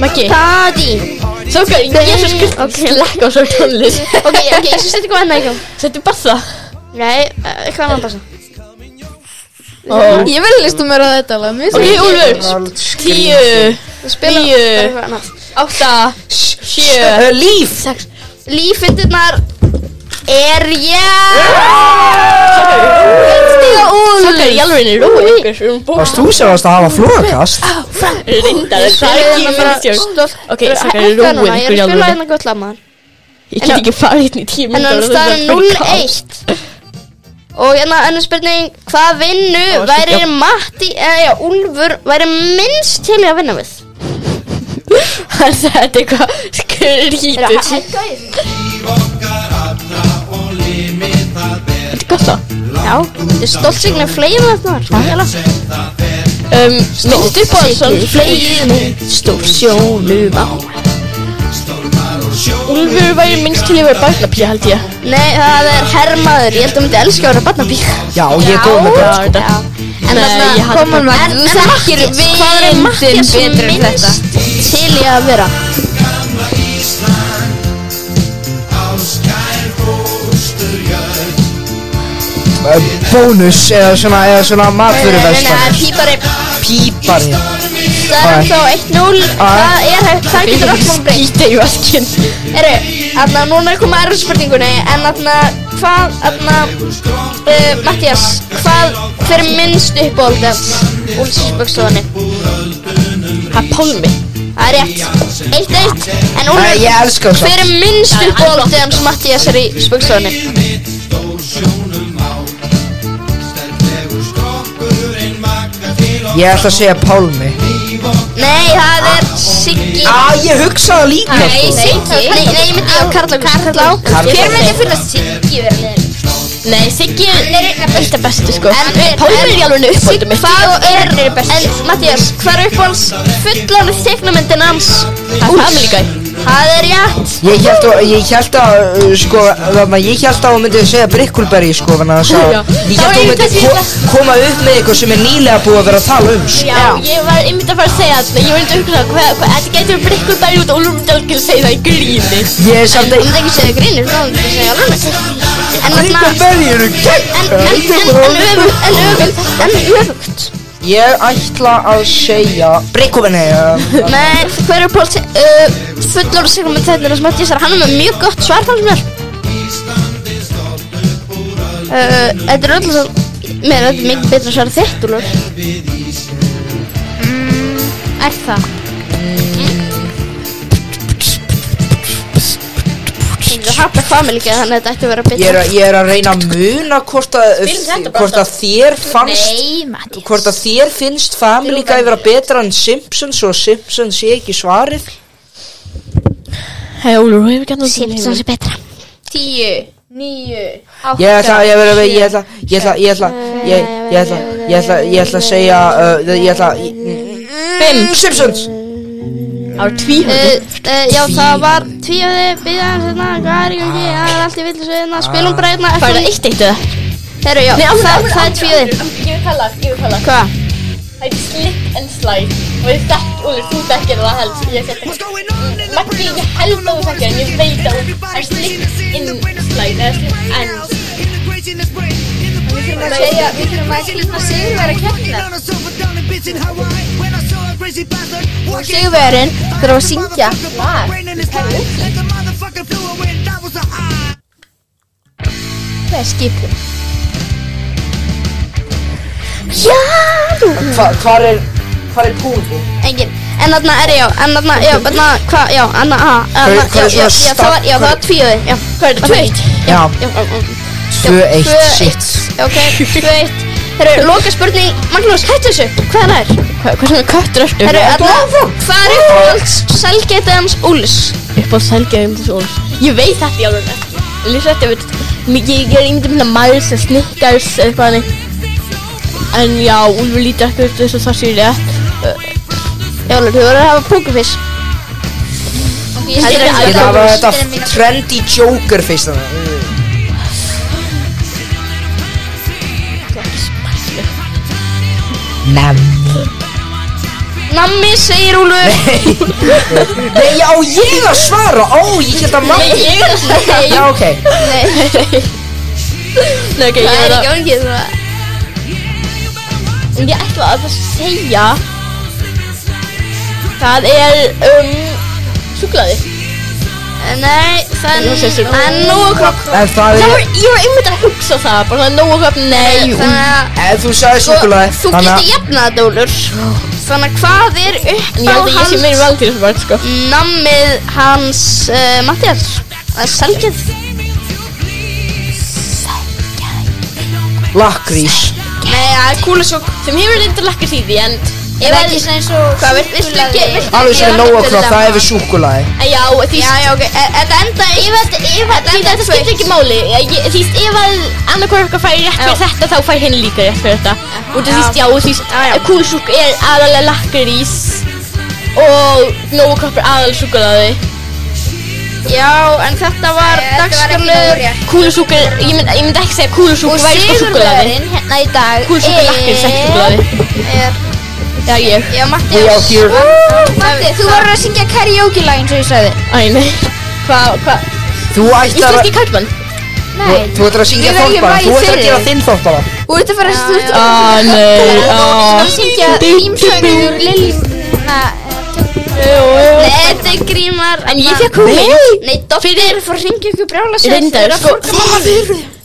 Speaker 3: Maggi,
Speaker 1: Daddy
Speaker 3: þókar, Jésu Kristus Slekk á svo tónlist
Speaker 1: Ok, ok, ég syns þetta ekki að henni ekki
Speaker 3: Settu bassa
Speaker 1: Nei, eh, eitthvað annan passa
Speaker 6: Ég vil listu mér að þetta alveg
Speaker 3: Ok, Úlfur Tíu Tíu
Speaker 1: Eitthvað annað
Speaker 3: Átta Sjö
Speaker 2: Ö, Líf
Speaker 1: Lífindirnar er ég Stiga úl
Speaker 3: Þókar, ég alveg er róið ykkur Við erum búin
Speaker 2: Varst þú sem varst að hafa flókast?
Speaker 3: Rindar, það er
Speaker 1: hérna
Speaker 3: ekki minn stjórn Ok, Þókar, ég er róið
Speaker 1: Ég
Speaker 3: ykkur
Speaker 1: er
Speaker 3: í
Speaker 1: að spila
Speaker 3: alveg
Speaker 1: hérna gott lagmaður
Speaker 3: Ég get ekki farið hérna í tíu
Speaker 1: En hann
Speaker 3: mínútur
Speaker 1: staðar 0-1 Og hérna önnur spurning Hvað vinnu
Speaker 3: Það var
Speaker 1: væri
Speaker 3: skemmt.
Speaker 1: Matti eða já, Úlfur væri minnst til í að vinna við
Speaker 3: Þetta er eitthvað
Speaker 1: Er að hækka
Speaker 3: skrítið
Speaker 1: í því?
Speaker 3: Þetta er gott það
Speaker 1: Já, þetta er stolt signa fleið þetta var Hækjala
Speaker 3: Um, minnst upp á þessan
Speaker 1: Fleið Stór sjónum á
Speaker 3: Úlfur væri minnst til yfir barnapíu held ég
Speaker 1: Nei, það er herrmaður Ég held að hún myndi elska að vera barnabík
Speaker 2: Já, ég er góð með það
Speaker 3: þetta
Speaker 1: En
Speaker 3: Nei, ég
Speaker 1: þarna
Speaker 3: hafði
Speaker 6: Koman maður, þú þekkir
Speaker 1: Hvað er Matti
Speaker 6: vindin
Speaker 1: sem
Speaker 6: betur en þetta
Speaker 1: minnst til í að vera
Speaker 2: Ö, eh, Bónus eða svona, eða svona matvöruverslun
Speaker 1: Pípari
Speaker 2: Pípari
Speaker 1: Það er þá 1-0 Það er hægt, það getur allt mál breytt
Speaker 3: Skýta í vaskinn
Speaker 1: Eru, aðna, núna er komið aðra spurningunni En aðna, hvað, aðna uh, Mattias, hvað Hver er minnst uppbólda Úlfsbökstofunni?
Speaker 3: Það er Pálmi
Speaker 1: Það er rétt, 1-1 En
Speaker 2: Æ,
Speaker 1: Úlfur,
Speaker 2: ég elska það
Speaker 1: hver er minnst uppbólda Hans Mattias er í spökstofunni?
Speaker 2: Ég ætla að segja Pálmi
Speaker 1: Nei, það er Siggi
Speaker 2: Á, ég hugsaði líka sko.
Speaker 1: Nei, Siggi Nei, nei, ég myndi á Karla Karla Hver myndi finna Siggi verið leiðin?
Speaker 3: Nei, Siggi er eitt af bestu sko
Speaker 1: En- en-
Speaker 3: Pálmi er í alveg nöðu uppbótið mitt
Speaker 1: Hvað er En Mattias, hvað er uppáhalds fullan Teknamyndin hans?
Speaker 3: Það er Family Guy
Speaker 1: Það er rétt
Speaker 2: Ég held að, ég held að, uh, sko, þarna, ég held að hún myndi segja Brickulberry, sko, þannig að það
Speaker 3: Já.
Speaker 2: Ég held að hún myndi ko koma upp með eitthvað sem er nýlega búið að vera að tala um, sko
Speaker 3: Já, ég var einmitt að fara að segja þetta Ég var einmitt að hugsa hvað, hvað, þetta getur verið ykkur bæri út og Úlfur myndi alveg að segja það í gríni
Speaker 2: Ég er samt
Speaker 1: Þú
Speaker 2: að,
Speaker 1: myndi ekki segja grínir, þá myndi ég segja alveg En þarna
Speaker 2: Brickulberry eru
Speaker 1: En, en, en, en öfugt, en öfugt, en öfugt
Speaker 2: Ég ætla að segja Breikominni
Speaker 1: Nei, hver er Páls uh, fullur segum með tætnir að smátt ég sér Hann er með mjög gott svar fannst mér uh, Þetta er öll svo Mér er þetta mikið betra svar en þitt úr
Speaker 6: Mm, Er það?
Speaker 1: Þetta er happy family ekki Þannig að þetta ætti að vera
Speaker 2: Ég er,
Speaker 1: betra
Speaker 2: að- ég er að reyna að muna hvort að,
Speaker 3: þetta bara
Speaker 2: hvort að þér fannst
Speaker 6: Nei, Matti
Speaker 2: Hvort að þér finnst Family Guy vera betra en Simpsons og Simpsons sé ekki svarið
Speaker 3: Hei Úlur, hefur gætið
Speaker 1: Simpsons er betra
Speaker 3: Tíu, níu
Speaker 2: Ég ætla, ég verið að ég ætla, ég ætla, ég ætla, ég ég ætla, ég ætla, ég ætla að segja, uh, ég ætla, Bim, Simpsons
Speaker 3: Það var tvíhund
Speaker 1: Uh, uh, já, það var tvíöði, bíðan, hérna, hvað er í gangi, það er allt í villu sveina, spilum bara hérna,
Speaker 3: Var það eitt eitt eða?
Speaker 1: Herru, já, það, það er tvíöði.
Speaker 3: Ég vil kalla, ég vil kalla
Speaker 1: Hvað?
Speaker 3: Það er slick and slide Og ég þekk, Úlur, þú þekkir það helst Ég þekki Maggi, ég held að þú þekkir En ég veit að þú- það er slick and slide eða slick and-
Speaker 6: Við þurfum að segja, við þurfum að segja Sigurveri að keppna Og Sigurverin þurfum að syngja lag Hvað er skipið?
Speaker 2: Hvar er, hvar er púðu?
Speaker 1: Engin. En þarna er ég, já, en þarna, já, þarna, hvað, já, anna, a,
Speaker 2: Hvað-
Speaker 1: anna, já,
Speaker 2: hvað er
Speaker 1: já,
Speaker 2: svona
Speaker 1: já, það var, já,
Speaker 2: stað-
Speaker 1: það var tvíöði, já. Hvað er það, tveitt?
Speaker 2: Já,
Speaker 1: Já, já, já.
Speaker 2: 2-1,
Speaker 1: tvö,
Speaker 2: shit
Speaker 1: Já, ok, tveitt. Herru, loka spurning, Magnús, hættu þessu, hvað er það?
Speaker 3: Hvað svona köttur ertu?
Speaker 1: Herru, þarna, hvað er uppáhalds selgetið hans Úlis?
Speaker 3: upp á selgeðum þessu orð. Ég veit þetta í alveg nefn. Lýsa þetta, ég veit, mikið- ég er einmitt minna maður sem snikkars eða eitthvað hannig. En já, Úlfur lítur ekki út þess að það sé rétt.
Speaker 1: Já, Úlur, þú verður að hafa pókerfis.
Speaker 3: Heldur
Speaker 2: Ég
Speaker 3: ekki
Speaker 2: ætla að
Speaker 3: að
Speaker 2: hafa þetta trendy joker fyrst þannig Nem
Speaker 1: Nammi, segir Úlur.
Speaker 2: Nei, já, ég að svara, ó, ég get að maður
Speaker 1: Ég er að segja,
Speaker 2: Já, ok
Speaker 3: Nei,
Speaker 1: það
Speaker 3: ok, ég veit
Speaker 1: er
Speaker 3: að,
Speaker 1: ekki orðið það.
Speaker 3: en ég ætla að það segja, það er, um, súklaði.
Speaker 1: Nei, það er nú sessur. Það er nú að kropp.
Speaker 2: En það
Speaker 3: Það
Speaker 2: er,
Speaker 3: var, ég var einmitt að hugsa það, bara það er nógu hvað, nei, Úlfur.
Speaker 1: Þannig að
Speaker 2: ef Eh, þú sagði súkulega
Speaker 1: þú getur jafnað þetta, Úlur. Þannig að hvað er
Speaker 3: Ég held að ég sé meiri
Speaker 1: uppáhalds
Speaker 3: vald til þessu barn, sko.
Speaker 1: nammið hans uh, Mattias? Það er selgið.
Speaker 2: Lakrís
Speaker 1: Nei, það er kúlusokk.
Speaker 3: Sem hefur reynda lakkar síði, en,
Speaker 6: Ég veit ekki svona eins og
Speaker 1: Hvað, viltu- viltu ekki? viltu
Speaker 2: Alveg
Speaker 1: ekki
Speaker 2: sem
Speaker 1: gera
Speaker 2: Nóa
Speaker 1: þetta
Speaker 2: Kropp, það
Speaker 1: saman?
Speaker 2: er við súkulaði
Speaker 3: en já, því
Speaker 1: Já, já, ok. E- Þetta enda í...
Speaker 6: Ég veit, ég veit
Speaker 3: Því þetta skiptir ekki máli Ég- ég- Því ef að annarkvæður okkar fær rétt fyrir þetta þá fær henni líka rétt fyrir þetta og því já, og því kúlusúk er aðalega lakkarís og nógkopp er aðalega súkulaði
Speaker 1: Já, en þetta var dagskarlöður.
Speaker 6: dagskarlöður
Speaker 3: kúlusúk er, ég myndi ég myndi ekki segja að kúlusúk
Speaker 6: Og
Speaker 3: væri sko súkulaði
Speaker 6: Sigurverin hérna í dag
Speaker 3: kúlusúk er lakkarís, ekki súkulaði
Speaker 1: Er,
Speaker 3: Já, ég,
Speaker 1: já,
Speaker 2: We
Speaker 1: Mattias.
Speaker 2: out here
Speaker 6: Matti, þú voru að syngja karaoke lag eins og ég sagði
Speaker 3: æ, nei Hvað, hvað,
Speaker 2: Þú ætlar að
Speaker 3: íslenski karlmann?
Speaker 2: Þú
Speaker 6: Nei,
Speaker 2: þú ætlar að syngja
Speaker 6: Við verðum
Speaker 2: þorpara
Speaker 6: lagið
Speaker 2: Þú ætlar
Speaker 6: fyrir
Speaker 2: að gera
Speaker 6: þig.
Speaker 2: þinn þorpara
Speaker 6: þú ert að fara að stúta
Speaker 3: Á, nei, á
Speaker 6: að syngja þýmsögnir úr Liljuna
Speaker 1: Nei, þetta er grímar.
Speaker 3: En ég fekk hugmynd
Speaker 1: Nei, Dóttir er að fara að ringja ykkur brjála sér.
Speaker 3: Reyndar, sko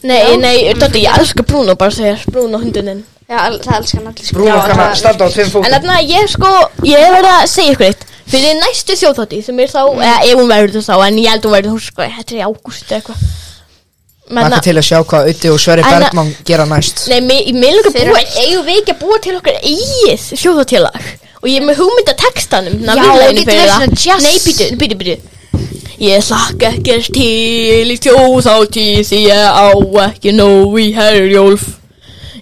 Speaker 3: Nei, nei, Dóttir, ég elska Bruno, bara segja Bruno hunduninn
Speaker 1: Já, al- það elskar hann allir sko.
Speaker 2: Brúna
Speaker 3: Já,
Speaker 2: kann
Speaker 3: það-
Speaker 2: að standa á tveim
Speaker 3: En
Speaker 2: fótum
Speaker 3: þarna ég sko, ég hef verið að segja ykkur eitt Fyrir næstu þjóðþátti sem er þá, eða ef hún verður þá, en ég held hún verður, hún sko, þetta er í ágúst eða eitthvað Menna,
Speaker 2: Maka til að sjá hvað Utti og Sverri
Speaker 3: En-
Speaker 2: Bergman gera næst
Speaker 3: nei, mig mig langar að búa, eigum við ekki að búa til okkar eigið þjóðþáttilag Og ég er með hugmynda textanum,
Speaker 6: Já,
Speaker 3: nafnileginu
Speaker 6: getur verið
Speaker 3: fyrir það
Speaker 6: svona jazz.
Speaker 3: Nei, býtu, býtu, býtu Ég slakka ekkert til í þjóðþátti því ég á ekki nóg í herjólf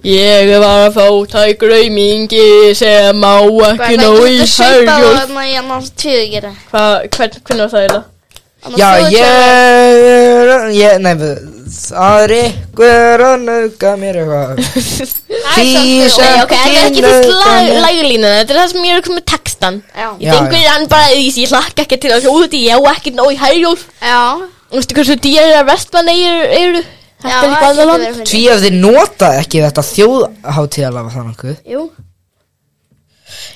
Speaker 3: Ég var að fá tæk raumingi sem á ekki nóg í herjólf
Speaker 1: Þannig að ég annars tvíðu gera
Speaker 3: Hvað, hvern, hvernig var það eiginlega?
Speaker 2: Já, ég ég- Nei, við- það er ykkur að nauka mér eitthvað Því
Speaker 3: Nei, ok, þetta er ekki þess
Speaker 2: nauka
Speaker 3: lag,
Speaker 2: mér-
Speaker 3: laglína, þetta er það sem ég er að koma með textan
Speaker 1: Já.
Speaker 3: Ég tengur hann bara í því, ég hlakka ekki til að hljóði, ég á ekki nóg í hægjól
Speaker 1: Já,
Speaker 3: Veistu hversu dýrar að vestmann eigir eru?
Speaker 1: já
Speaker 3: Þetta er eitthvað annað land
Speaker 1: fyrir
Speaker 2: Tví ef þið nota ekki þetta þjóðhátíðalega þannig
Speaker 1: Jú,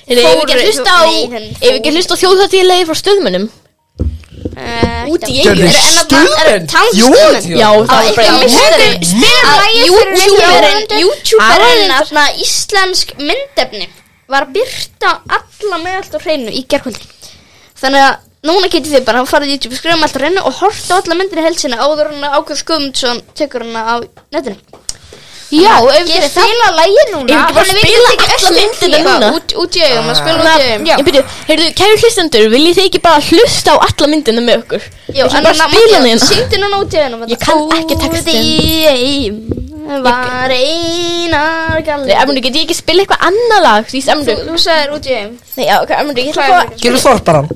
Speaker 3: Hefur við ekki að
Speaker 1: Fóru-
Speaker 3: hlusta á
Speaker 1: Nei, hann
Speaker 3: Hefur við ekki að
Speaker 1: fór.
Speaker 3: hlusta á þjóðhattíðlegi frá stöðmönnum
Speaker 1: Eh,
Speaker 3: Út í
Speaker 1: ekki- Eru-
Speaker 2: Gjörðu
Speaker 3: Eyjum.
Speaker 1: en að- er-
Speaker 2: stuðmenn?
Speaker 1: Talan
Speaker 2: Jú,
Speaker 1: stuðmenn
Speaker 2: jú.
Speaker 3: Já, það
Speaker 1: Það
Speaker 3: er
Speaker 1: er
Speaker 3: bara
Speaker 1: mistari YouTuberin
Speaker 6: áhorfendur.
Speaker 1: YouTuberin Þarna íslensk myndefni Var að byrta alla með allt á hreinu Í gerkvöldi Þannig að núna getið þið bara að fara í YouTube Skrifum allt á hreinu og horta alla myndinni í helsina Áður hann að ákveð skumundsson Tekur hann á netinu
Speaker 6: Já, ef
Speaker 1: Ég
Speaker 6: þið það
Speaker 1: spila lægir núna
Speaker 3: Ef við ekki bara
Speaker 1: Þannig við
Speaker 3: spila
Speaker 1: getum tekið
Speaker 3: alla
Speaker 1: öll
Speaker 3: myndina
Speaker 1: eitthvað
Speaker 3: núna.
Speaker 1: út- Út í augum, að spila út í augum
Speaker 3: Ég byrju, heyrðu, kæru hlustendur Viljið þið ekki bara hlusta á alla myndina með okkur
Speaker 1: Já,
Speaker 3: Við ætlum bara að spila hana hérna.
Speaker 1: Syngdu núna út í augum
Speaker 3: Ég kann ekki textinn.
Speaker 1: textin Var einar
Speaker 3: Nei,
Speaker 1: galdur
Speaker 3: Amrundur, get ég ekki spila eitthvað annað lag Því
Speaker 1: Þú,
Speaker 3: Amrundur
Speaker 1: þú sagðir út í
Speaker 6: hérna.
Speaker 1: heim
Speaker 3: Nei, já, ok, Amrundur, ég ætla
Speaker 1: Hvað
Speaker 3: bara
Speaker 1: er
Speaker 2: Gilvi Þorparan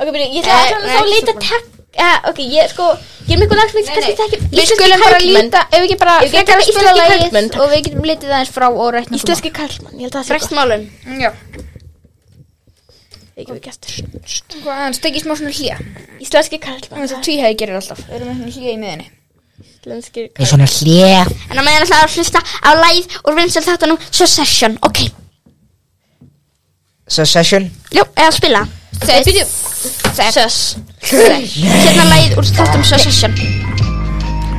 Speaker 3: Ok, byrju, ég ætla
Speaker 1: Nei,
Speaker 3: að
Speaker 6: Eh,
Speaker 1: nei, ekki
Speaker 3: kannan þá að leita
Speaker 1: svona.
Speaker 3: takk Uh, ok, ég sko, ég er með eitthvað lag sem ekki kannski tekja
Speaker 6: Við skulum bara líta, ef við ekki bara
Speaker 3: Ef við ekki
Speaker 6: frekar
Speaker 3: bara
Speaker 6: að spila
Speaker 3: íslenski
Speaker 6: lagið
Speaker 3: karlmenn, takk.
Speaker 6: og við getum litið aðeins frá og rætna
Speaker 3: Íslenski karlmann, ég held að það sé gott
Speaker 1: Frestmálum
Speaker 6: Já,
Speaker 3: Ekki við gestur
Speaker 6: hvað hann stekki Sko, smá svona hlýja
Speaker 3: Íslenski karlmann
Speaker 6: Þannig að tvíhæði gerir alltaf Við erum með svona hlýja í miðinni
Speaker 3: Íslenski
Speaker 2: Ég er svona hlé
Speaker 1: En að meðan ætlaði að hlusta á læð úr vinsal þáttunum Succession, ok
Speaker 2: Succession
Speaker 1: Jú, eða spila
Speaker 3: Sess
Speaker 1: Hérna læð úr þáttunum Succession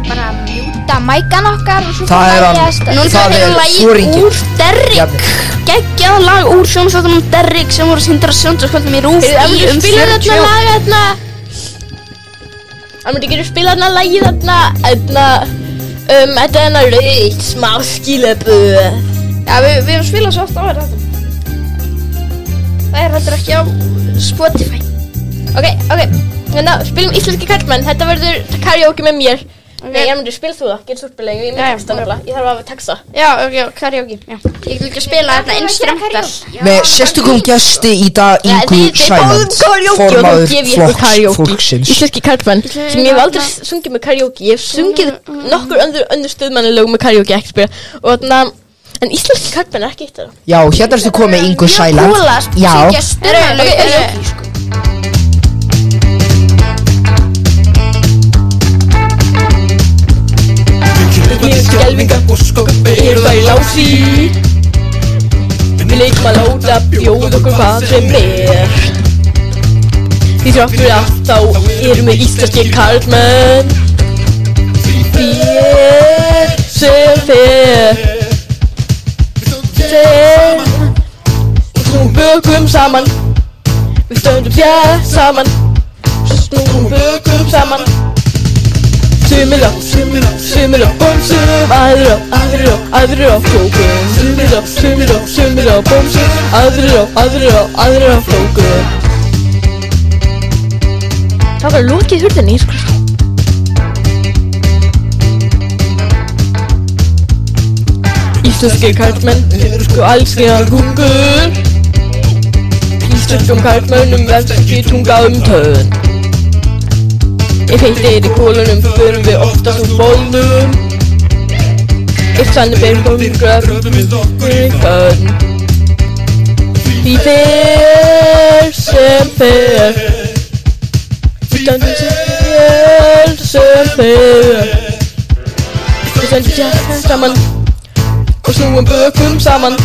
Speaker 6: Bara að mjúta mækan okkar og svo
Speaker 2: Það er hann.
Speaker 6: lægjast
Speaker 1: Nú
Speaker 2: Það
Speaker 1: er
Speaker 3: hérna
Speaker 2: er
Speaker 1: læð
Speaker 2: foringi.
Speaker 1: úr Derrick Geggjað lag úr sjónasáttunum Derrick sem voru sýndar að sjónasáttunum í rúf í um
Speaker 3: Spila
Speaker 1: 40
Speaker 3: þarna
Speaker 1: ár.
Speaker 3: lag þarna Það myndi ekki spila þarna lagi þarna Þarna Um, þetta er hennar rauðt smá skilöpu
Speaker 1: Já, við, við erum spilað svo oft á þér þáttum Það er heldur ekki á Spotify
Speaker 3: Ok, ok, þannig að spilum íslenski karlmenn Þetta verður karaoke með mér Nei, ég myndi spila þú það, gerir þú spila Ég myndi
Speaker 1: Jæja,
Speaker 3: texta nefnilega, ég þarf að texta
Speaker 1: Já, ok, já, karaoke já. Ég vil ekki að spila hérna þarna instrumental
Speaker 2: Með sérstökum gesti í dag
Speaker 3: Nei,
Speaker 2: Ingu
Speaker 3: við- við
Speaker 2: Sæland
Speaker 3: fáum karaoke og þá
Speaker 2: Formaður
Speaker 3: gef ég ykkur
Speaker 2: flokks
Speaker 3: karaoke
Speaker 2: fólksins
Speaker 3: Íslenski karlmann sem ég hef aldrei sungið með karaoke Ég hef sungið nokkur öndur, öndur stöðmannilög með karaoke ekki spila og þarna En íslenski karlmann er ekki eitt þeirra
Speaker 2: Já, hérna erstu komið Ingu Sæland Já,
Speaker 1: hérna.
Speaker 8: Skelvingar og skoppi eru það í lási
Speaker 3: Við leikum að láta bjóð okkur hvað sem er Því þrátt fyrir allt þá erum við íslenski karlmenn Þér sem þér Þér Snúum bökum saman Við stöndum þér saman Snúum bökum saman Sumir á,
Speaker 8: Sumir á,
Speaker 3: sumir á,
Speaker 8: bómsum
Speaker 3: aðrir á, aðrir á, aðrir á fjókum
Speaker 8: Sumir á, sumir á, sumir á, bómsum
Speaker 3: Aðrir á, aðrir á, aðrir á flóku Það var lókið hurðinni, sko Íslenski karlmenn eru sko allskeðan kungur Íslenskum karlmennum verðs ekki tunga um töðun Ef heitt er í kólunum förum við oftast úr bólnum Ef þannig berum við gröfum
Speaker 8: Röfum við okkur í
Speaker 3: við
Speaker 8: það
Speaker 3: fönn Því fyrr sem fyrr Stöndum sem fyrr sem fyrr Við stöndum þér saman Og snúum bökum saman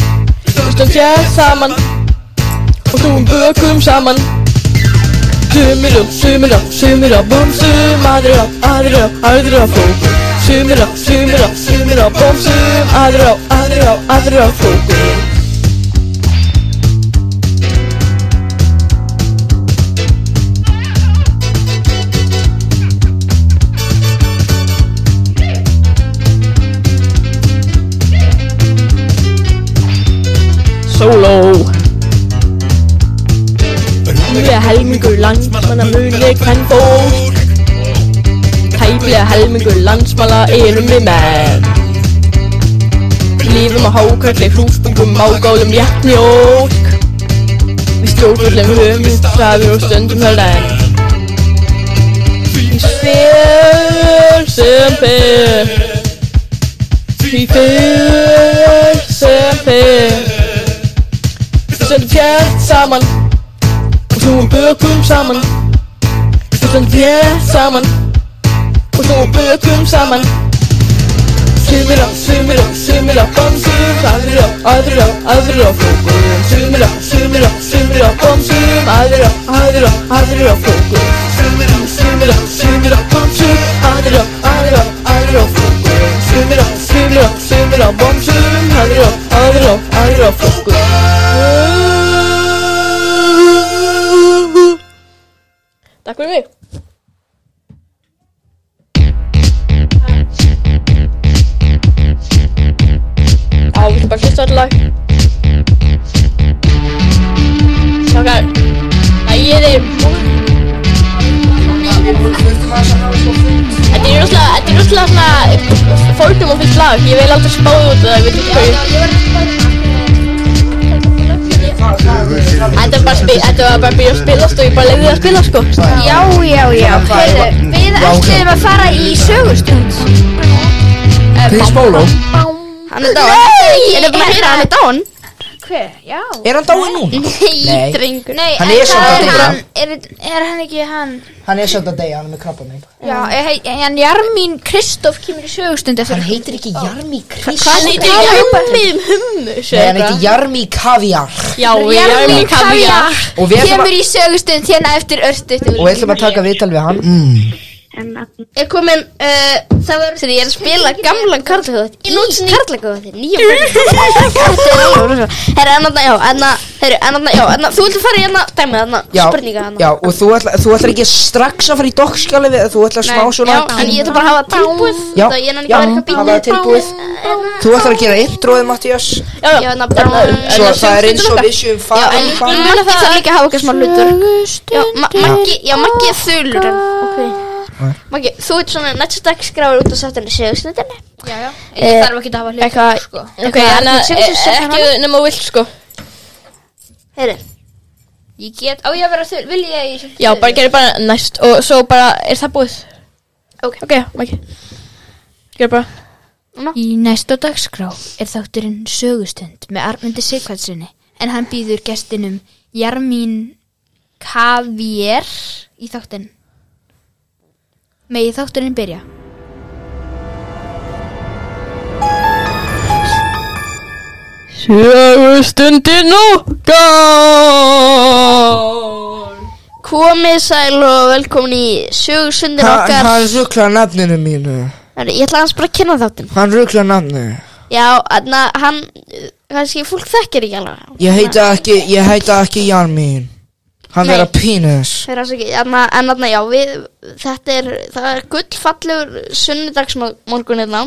Speaker 3: Við stöndum þér saman Og snúum bökum saman Sumir á, sumir á, sumir á Bómsum, aðrir á, aðrir á, aðrir á fókum Sumir á, sumir á, sumir á Bómsum, aðrir á, aðrir á, aðrir á fókum Solo Tæplega helmingur landsmanna munir hvern fólk Tæplega helmingur landsmanna erum við menn Lífum á hákalli hrúspungum ágálum jættmjólk Við stjórnum höfum stafir og stöndum þar enn Því fyrr sem fyrr Því fyrr sem fyrr Við stöndum fjart saman og snúum bökum saman Við stöndum þér saman og snúum bökum saman
Speaker 8: sumir á, sumir á, sumir á bamsu Aðrir á, aðrir á, aðrir á fókum Sumir á, sumir á, sumir á bamsum Aðrir á, aðrir á, aðrir á fókum Sumir á, sumir á, sumir á bamsu Aðrir á, aðrir á, aðrir á fókum Sumir á, sumir á, sumir á bamsum Aðrir á, aðrir á, aðrir á fókum
Speaker 3: Takk fyrir mig Já, við getum bara hlusta þetta lag Strákar Lægið er Þetta er rosalega, þetta er rosalega svona fórtum og fyrst lag, ég vil aldrei spáði út af það, ég veit ekki hverju Þetta er bara spil, þetta var bara að byrja að spilast og ég bara leiði það að spila sko
Speaker 6: Já, já, já, heyrðu, við ætlum að fara í sögustund
Speaker 2: Chris Polo
Speaker 1: Hann er dáin Nei, er það búin að heyra hann er dáin
Speaker 6: Hver? Já
Speaker 2: Er hann dáið núna?
Speaker 1: Nei, drengur
Speaker 6: Nei,
Speaker 2: Hann
Speaker 6: en
Speaker 2: er
Speaker 6: það
Speaker 2: samt að deyja.
Speaker 6: hann, er, er hann ekki hann?
Speaker 2: Hann er svolítið að deyja, hann er með krabba mig
Speaker 6: Já, hei, en Jarmín Kristoff kemur í sögustund eftir
Speaker 2: Hann heitir ekki Jarmi Chris
Speaker 3: Hann heitir Jarmi um hummus
Speaker 2: Nei, hann heitir Jarmi Kaviar
Speaker 3: Já, Jarmi Kaviar
Speaker 2: Og við ætlum
Speaker 6: Kemur
Speaker 2: að
Speaker 6: í sögustund hérna eftir örstuð
Speaker 2: Og við ætlum að taka viðtal við hann Mm,
Speaker 1: Er komin uh, Það verður Þegar ég er að spila gamlan karlakóðið Í karlakóðið Nýja Herra, en þarna, já En það Herra, en þarna, já En það Þú viltu fara í hérna Dæmið hérna
Speaker 2: Já,
Speaker 1: Spurninga hérna
Speaker 2: já, og þú ætlar, þú ætlar ekki strax að fara í dokkskjali við Þú ætlar smá svona
Speaker 1: Já, en ég ætla bara að hafa tilbúið
Speaker 2: Já,
Speaker 1: Það ég er hann
Speaker 2: já,
Speaker 1: ekki verið
Speaker 2: hafa það tilbúið Þú ætlar að gera introið, Mattias
Speaker 3: Já,
Speaker 1: Já,
Speaker 3: já,
Speaker 1: en það
Speaker 2: Svo það er eins og við séum
Speaker 1: Já,
Speaker 2: farið
Speaker 1: en
Speaker 2: í
Speaker 1: ég
Speaker 2: hvað-
Speaker 1: vil að það líka hafa eitthvað smá hlutverk Já, Ma- Maggi, já, Maggi er þulur en
Speaker 2: Nei.
Speaker 1: Ok Maggi, þú ert svona næstu dag skráður út á sættinni séðusnittinni
Speaker 6: Já, já, ég þarf ekki að hafa sko. hlut
Speaker 1: Eitthvað
Speaker 3: ok,
Speaker 1: Eitthvað
Speaker 3: en eh,
Speaker 1: Arnbjörg Sigurðardóttir segir
Speaker 3: ekki
Speaker 1: hana.
Speaker 3: nema vilt sko
Speaker 1: Heyri,
Speaker 6: Ég get, á ég að vera þull, vil ég að ég sem
Speaker 3: Já, bara gerir bara næst og svo bara er það búið
Speaker 1: Ok.
Speaker 3: Ok, Maggi Gerir bara
Speaker 6: Í næsta dagskrá er þátturinn sögustund með Armundi Sigvaldssoni en hann býður gestinum Jarmín Kavier í þáttinn. Megi þátturinn byrja.
Speaker 3: Sjögustundin okkar
Speaker 1: Komið sæl og velkomin í sögursundin
Speaker 2: Ha-
Speaker 1: okkar
Speaker 2: Hann rugla nafninu mínu
Speaker 1: Heyri, Ég ætla hans bara að kynna þáttin
Speaker 2: Hann rugla nafninu
Speaker 1: Já, en hann uh, kannski fólk þekkir ekki alveg hann.
Speaker 2: Ég heita ekki, ég heita ekki Jarmin Hann
Speaker 1: Nei.
Speaker 2: er að pínus
Speaker 1: Þeir ás ekki, hérna, en þarna já, við, þetta er, það er gullfallegur sunnudagsmorgun hérna.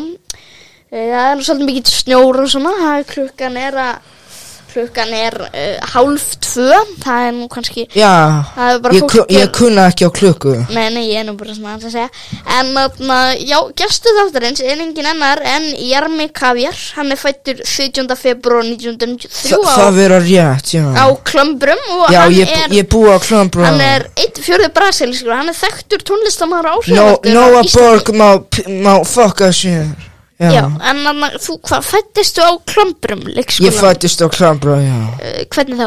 Speaker 1: Eh, Það er nú svolítið mikið snjór og svona, það er klukkan er að, klukkan er uh, hálf tvö, það er nú kannski,
Speaker 2: Já,
Speaker 1: það er bara
Speaker 2: ég, ku-
Speaker 1: fólk,
Speaker 2: ég kunna ekki á klukku
Speaker 1: nei, nei, ég er nú bara svona aðeins að segja, en þarna, já, gestu þáttarins er engin annar en Jarmi Kavjar, hann er fættur 17. februar 1993
Speaker 2: Þa,
Speaker 1: á,
Speaker 2: Það vera rétt, já
Speaker 1: á Klömbrum og
Speaker 2: Já,
Speaker 1: hann
Speaker 2: ég,
Speaker 1: er...
Speaker 2: ég búi á Klömbrum
Speaker 1: Hann er eitt fjörði brasilískur, hann er þekktur tónlistamæður
Speaker 2: no,
Speaker 1: áhrifaldur
Speaker 2: Nóa Borg má, p- má fucka sér Já,
Speaker 1: Já, en hann, þú, hvað, fættistu á klombrum leikskóla?
Speaker 2: ég fættist á Klömbrum, já
Speaker 1: eh, Hvernig þá?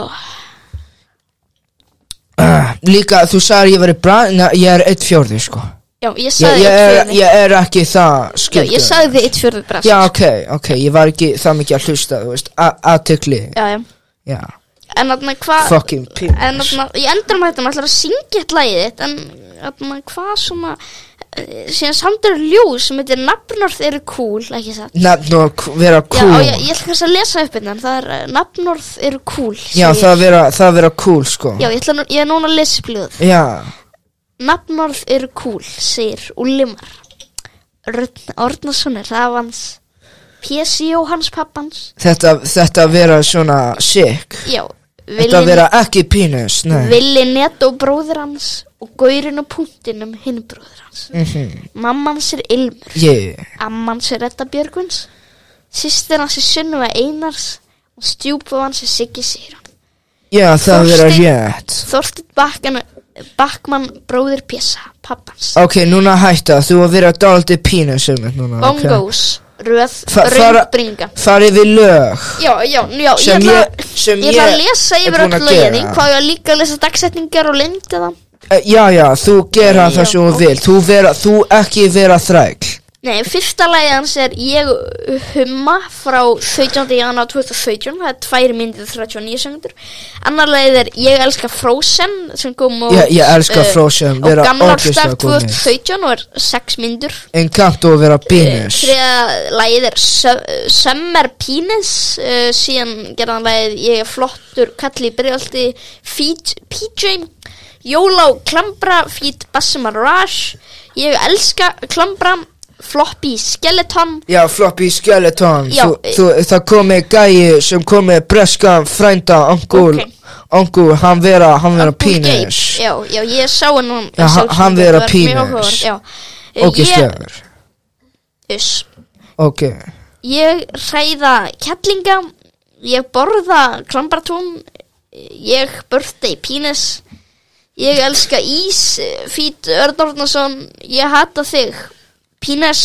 Speaker 2: uh, Líka, þú sagði ég verið bra na, Ég er eitt fjórði, sko
Speaker 1: Já, ég
Speaker 2: ég,
Speaker 1: sagði
Speaker 2: ég,
Speaker 1: eitt
Speaker 2: er,
Speaker 1: fjörði
Speaker 2: ég er ekki það
Speaker 1: Já,
Speaker 2: skildu.
Speaker 1: ég sagði þið eitt fjörði brasilískur
Speaker 2: Já, ok, ok, ég var ekki það mikið að hlusta, þú veist, a- athygli
Speaker 1: já, já
Speaker 2: Já,
Speaker 1: En hann, hvað
Speaker 2: fucking
Speaker 1: En
Speaker 2: pínus
Speaker 1: hann, ég endur maður þetta, maður ætlar að syngja eitt lagið þitt En hann, hvað svona eh, Síðan samt er ljóð sem heitir Nafnorð eru cool, ekki satt
Speaker 2: Nafn og
Speaker 1: Já,
Speaker 2: vera
Speaker 1: á,
Speaker 2: cool
Speaker 1: ég, ég ætla kannski að lesa upp innan Það er eh, nafnorð eru cool
Speaker 2: Já,
Speaker 1: segir-
Speaker 2: það vera, það vera cool, sko
Speaker 1: Já, ég, ætla, nú- ég er núna að lesa upp ljóð
Speaker 2: Já,
Speaker 1: Nafnorð eru kúl, segir Ullimar. Rögn Ornason er rafans. Pési Jóhanns pappans.
Speaker 2: þetta, þetta vera svona sick
Speaker 1: Já,
Speaker 2: Þetta
Speaker 1: Villi-
Speaker 2: vera ekki pínus, nei
Speaker 1: Villi Netto bróður hans og gaurinn og punktinum hinn bróður hans.
Speaker 2: mm
Speaker 1: Mamma hans er Ilmur,
Speaker 2: Yeah,
Speaker 1: amma hans er Edda Björgvins, sýstir hans er Sunnuva Einars og stjúpa hans er Siggi Sýran.
Speaker 2: já, það vera
Speaker 1: Þorsteinn-
Speaker 2: rétt
Speaker 1: Þorsteinn Bakkan, Bakman bróður Pésa, pappans.
Speaker 2: Ok, núna hætta, þú að vera daldi pínus um þetta núna ok?
Speaker 1: Bongos, röð,
Speaker 2: Fa- fara-
Speaker 1: röndbringa.
Speaker 2: Farið við lög
Speaker 1: Já, já, já, ég
Speaker 2: Sem
Speaker 1: ætla-
Speaker 2: ég, sem
Speaker 1: Ég ætla að lesa
Speaker 2: er
Speaker 1: yfir
Speaker 2: búin
Speaker 1: öll
Speaker 2: að
Speaker 1: lögin
Speaker 2: gera.
Speaker 1: þín, hvað ég var líka að lesa dagsetningar og lengja það.
Speaker 2: Eh, Já, já, þú gera
Speaker 1: Nei,
Speaker 2: það
Speaker 1: já,
Speaker 2: sem þú
Speaker 1: ok.
Speaker 2: vil Þú, vera, þú ekki vera þræk
Speaker 1: Nei, fyrsta lagi hans er Ég humma frá 17. januar 2017 það er 2 myndir 39 sekundur annar lagið er Ég elska Frozen sem kom á,
Speaker 2: Ég- ég elska
Speaker 1: eh,
Speaker 2: Frozen,
Speaker 1: á
Speaker 2: vera
Speaker 1: gamlársdag
Speaker 2: ógeðslega góð mynd.
Speaker 1: 2017 og er 6 myndir
Speaker 2: Encanto vera bínus
Speaker 1: þriða lagið er Sö- Summer Penis uh, síðan gerðan lagið Ég er flottur kalli byrjaldi Feet PJ Jóla og Klambra Feet Bassima Rush Ég elska Klambra Floppy Skeleton
Speaker 2: Já, Floppy Skeleton
Speaker 1: Já,
Speaker 2: þú,
Speaker 1: e-
Speaker 2: þú, Það komi gæi sem komi breskan frænda Angul
Speaker 1: Ok.
Speaker 2: Angul, hann vera, hann vera
Speaker 1: Uncle Gabe.
Speaker 2: pínus
Speaker 1: Já, já, ég sá hennan
Speaker 2: Já, hann- hann vera penis.
Speaker 1: Ég,
Speaker 2: Ógislegur
Speaker 1: uss.
Speaker 2: Ok,
Speaker 1: Ég hræða kettlinga Ég borða klambartún Ég birthday penis Ég elska ís Fít Örn Ornason Ég hata þig Penis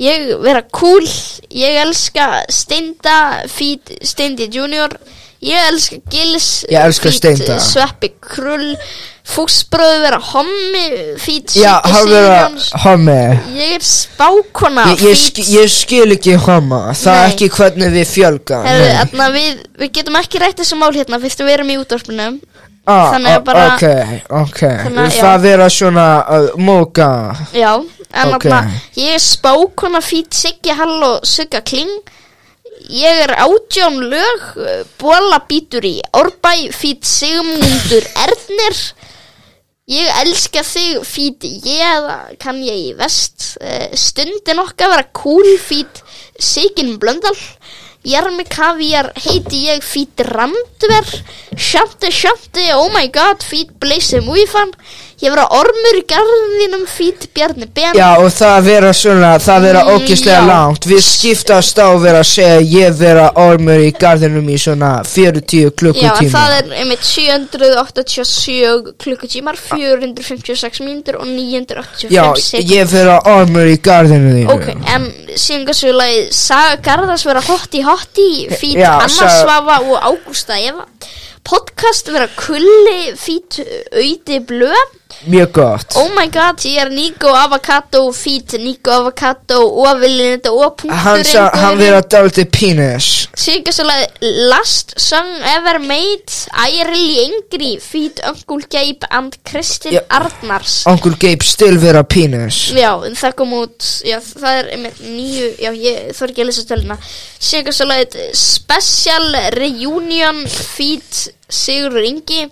Speaker 1: Ég vera cool Ég elska Steinda Fít Steindi Junior Ég elska Gils
Speaker 2: Ég elska
Speaker 1: feat.
Speaker 2: Steinda.
Speaker 1: Sveppi Krull Fúksbröðu vera hommi Fít
Speaker 2: já, hann vera homi
Speaker 1: Ég er spákona
Speaker 2: Ég, ég,
Speaker 1: feat.
Speaker 2: sk, ég skil ekki homa Það er
Speaker 1: Ah, Nei.
Speaker 2: ekki hvernig við fjölgum
Speaker 1: Herðu,
Speaker 2: Ah, nei.
Speaker 1: þarna, við, við getum ekki rætt þessu mál hérna fyrst við erum í útvarpinu
Speaker 2: ah,
Speaker 1: þannig að bara-
Speaker 2: Ok, ok
Speaker 1: Þannig að-
Speaker 2: Það vera svona uh, móka
Speaker 1: Já, en
Speaker 2: Ok.
Speaker 1: okay. ég er spákona fít Siggi Hall og Sigga Kling Ég er átjón lög uh, Bóla býtur í Árbæ fít Sigmundur Ernir Ég elska þig fít ég eða kann ég í vest Eh, Stundin okkar vera cool fít Sigin Blöndal Jarmi Kaviar heiti ég fít Randver Shanti Shanti oh my god fít Bleisi Múifan Ég vera ormur í garðinum fít Bjarni Ben
Speaker 2: Já, og það vera svona Það vera
Speaker 1: Mm,
Speaker 2: ógislega
Speaker 1: já.
Speaker 2: langt Við skiptast á að vera að segja Ég vera ormur í garðinum í svona 40
Speaker 1: Já, en
Speaker 2: klukkutíma
Speaker 1: það er einmitt 787 klukkutímar, 456 mínútur og 985
Speaker 2: Ah. Já,
Speaker 1: sekúndur.
Speaker 2: ég vera ormur í garðinu þínu
Speaker 1: Ok, en síðan hversu lagi Saga Garðars vera hotti hotti Fít
Speaker 2: Eh, Já,
Speaker 1: Anna
Speaker 2: Saga-
Speaker 1: Svafa og Ágústa Eva Podcast vera kulli Fít Auði Blö
Speaker 2: Mjög gott
Speaker 1: Oh my god, ég er Nico Avocado Fít Nico Avocado Og viljum þetta og
Speaker 2: Hann,
Speaker 1: punkturinn
Speaker 2: sa, hann
Speaker 1: gaurinn.
Speaker 2: vera daldi penis
Speaker 1: Sigga svo lagði Last song ever made I really angry Feet Uncle Gabe and Kristin
Speaker 2: Já.
Speaker 1: Arnars
Speaker 2: Uncle Gabe still vera penis
Speaker 1: Já, en það kom út Já, það er einmitt nýju Já, ég þarf ekki að lesa stöluna Sigga svo lagði Special Reunion Feet Sigur Ingi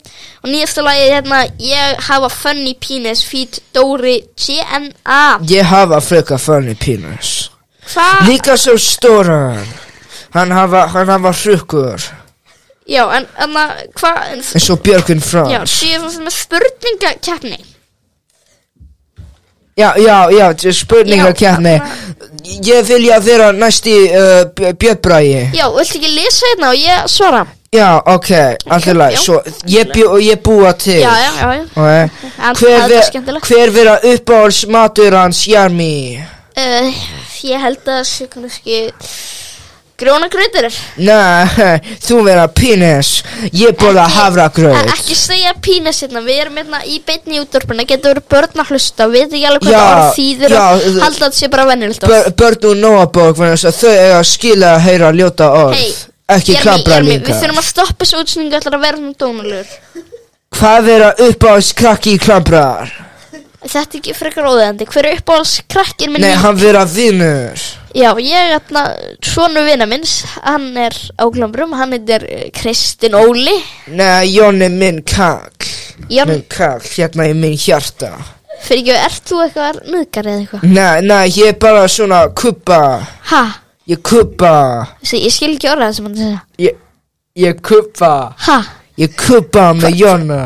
Speaker 1: Og nýjasta lagið er hérna Ég hafa funny penis Feet Dóri GNA
Speaker 2: Ég hafa freka funny penis
Speaker 1: Hvað?
Speaker 2: Líka svo stóran Hann hafa, hann hafa hrukkur
Speaker 1: Já, en, en hvað?
Speaker 2: eins og Björgvin
Speaker 1: Já,
Speaker 2: Frans
Speaker 1: síðan fannst með spurningakeppni
Speaker 2: Já, já, já, já spurningakeppni
Speaker 1: Já,
Speaker 2: Ég vilja vera næsti uh, Björnbræi
Speaker 1: Já, viltu ekki lesa hérna og ég svara?
Speaker 2: Já, ok, allir læg
Speaker 1: já.
Speaker 2: Svo ég, bjó, og ég búa til
Speaker 1: Já, já, já, já.
Speaker 2: Ok.
Speaker 1: En það
Speaker 2: Hver,
Speaker 1: er bara
Speaker 2: ver,
Speaker 1: skemmtilegt.
Speaker 2: hver vera uppáhalds matur hans Jarmi?
Speaker 1: Uh, ég held að sé kannski grjónagrautur.
Speaker 2: Nei, þú vera penis Ég borða
Speaker 1: Ekki-
Speaker 2: havragraut
Speaker 1: Ekki segja pínis hérna, við erum hérna í beinni útdorpuna, getur verið börn að hlusta, við veitum ekki alveg hvað
Speaker 2: Já,
Speaker 1: það orð þýðir
Speaker 2: já,
Speaker 1: og
Speaker 2: það-
Speaker 1: halda að þetta sé bara venjulegt orð.
Speaker 2: Bör- Börn úr Nóabók vegna þess að þau eiga að skila að heyra ljóta orð
Speaker 1: Hey,
Speaker 2: Ekki
Speaker 1: Jeremy,
Speaker 2: klambra
Speaker 1: Jeremy,
Speaker 2: líka
Speaker 1: Við þurfum að stoppa þessu útsningu ætlar að vera hérna nú dónulegur.
Speaker 2: Hvað vera uppáhalds krakki í klambrar?
Speaker 1: Þetta er ekki frekar óðeðandi, hver er uppáhalds krakkir minn?
Speaker 2: Nei,
Speaker 1: í-
Speaker 2: hann vera vinnur
Speaker 1: Já, ég hérna, svonu vina minns, hann er á glambrum, hann heitir eh, Kristinn Óli.
Speaker 2: Nei, Jón er minn kakl
Speaker 1: Jón-
Speaker 2: Minn kakl, hérna í minn hjarta
Speaker 1: Fyrir ekki, ert þú eitthvað nöðgar eða eitthvað?
Speaker 2: Nei, nei, ég er bara svona kubba
Speaker 1: Ha?
Speaker 2: Ég kubba
Speaker 1: Þessi, ég skil ekki orðað sem hann segja.
Speaker 2: Ég, ég kubba
Speaker 1: Ha?
Speaker 2: Ég kubba með Jóna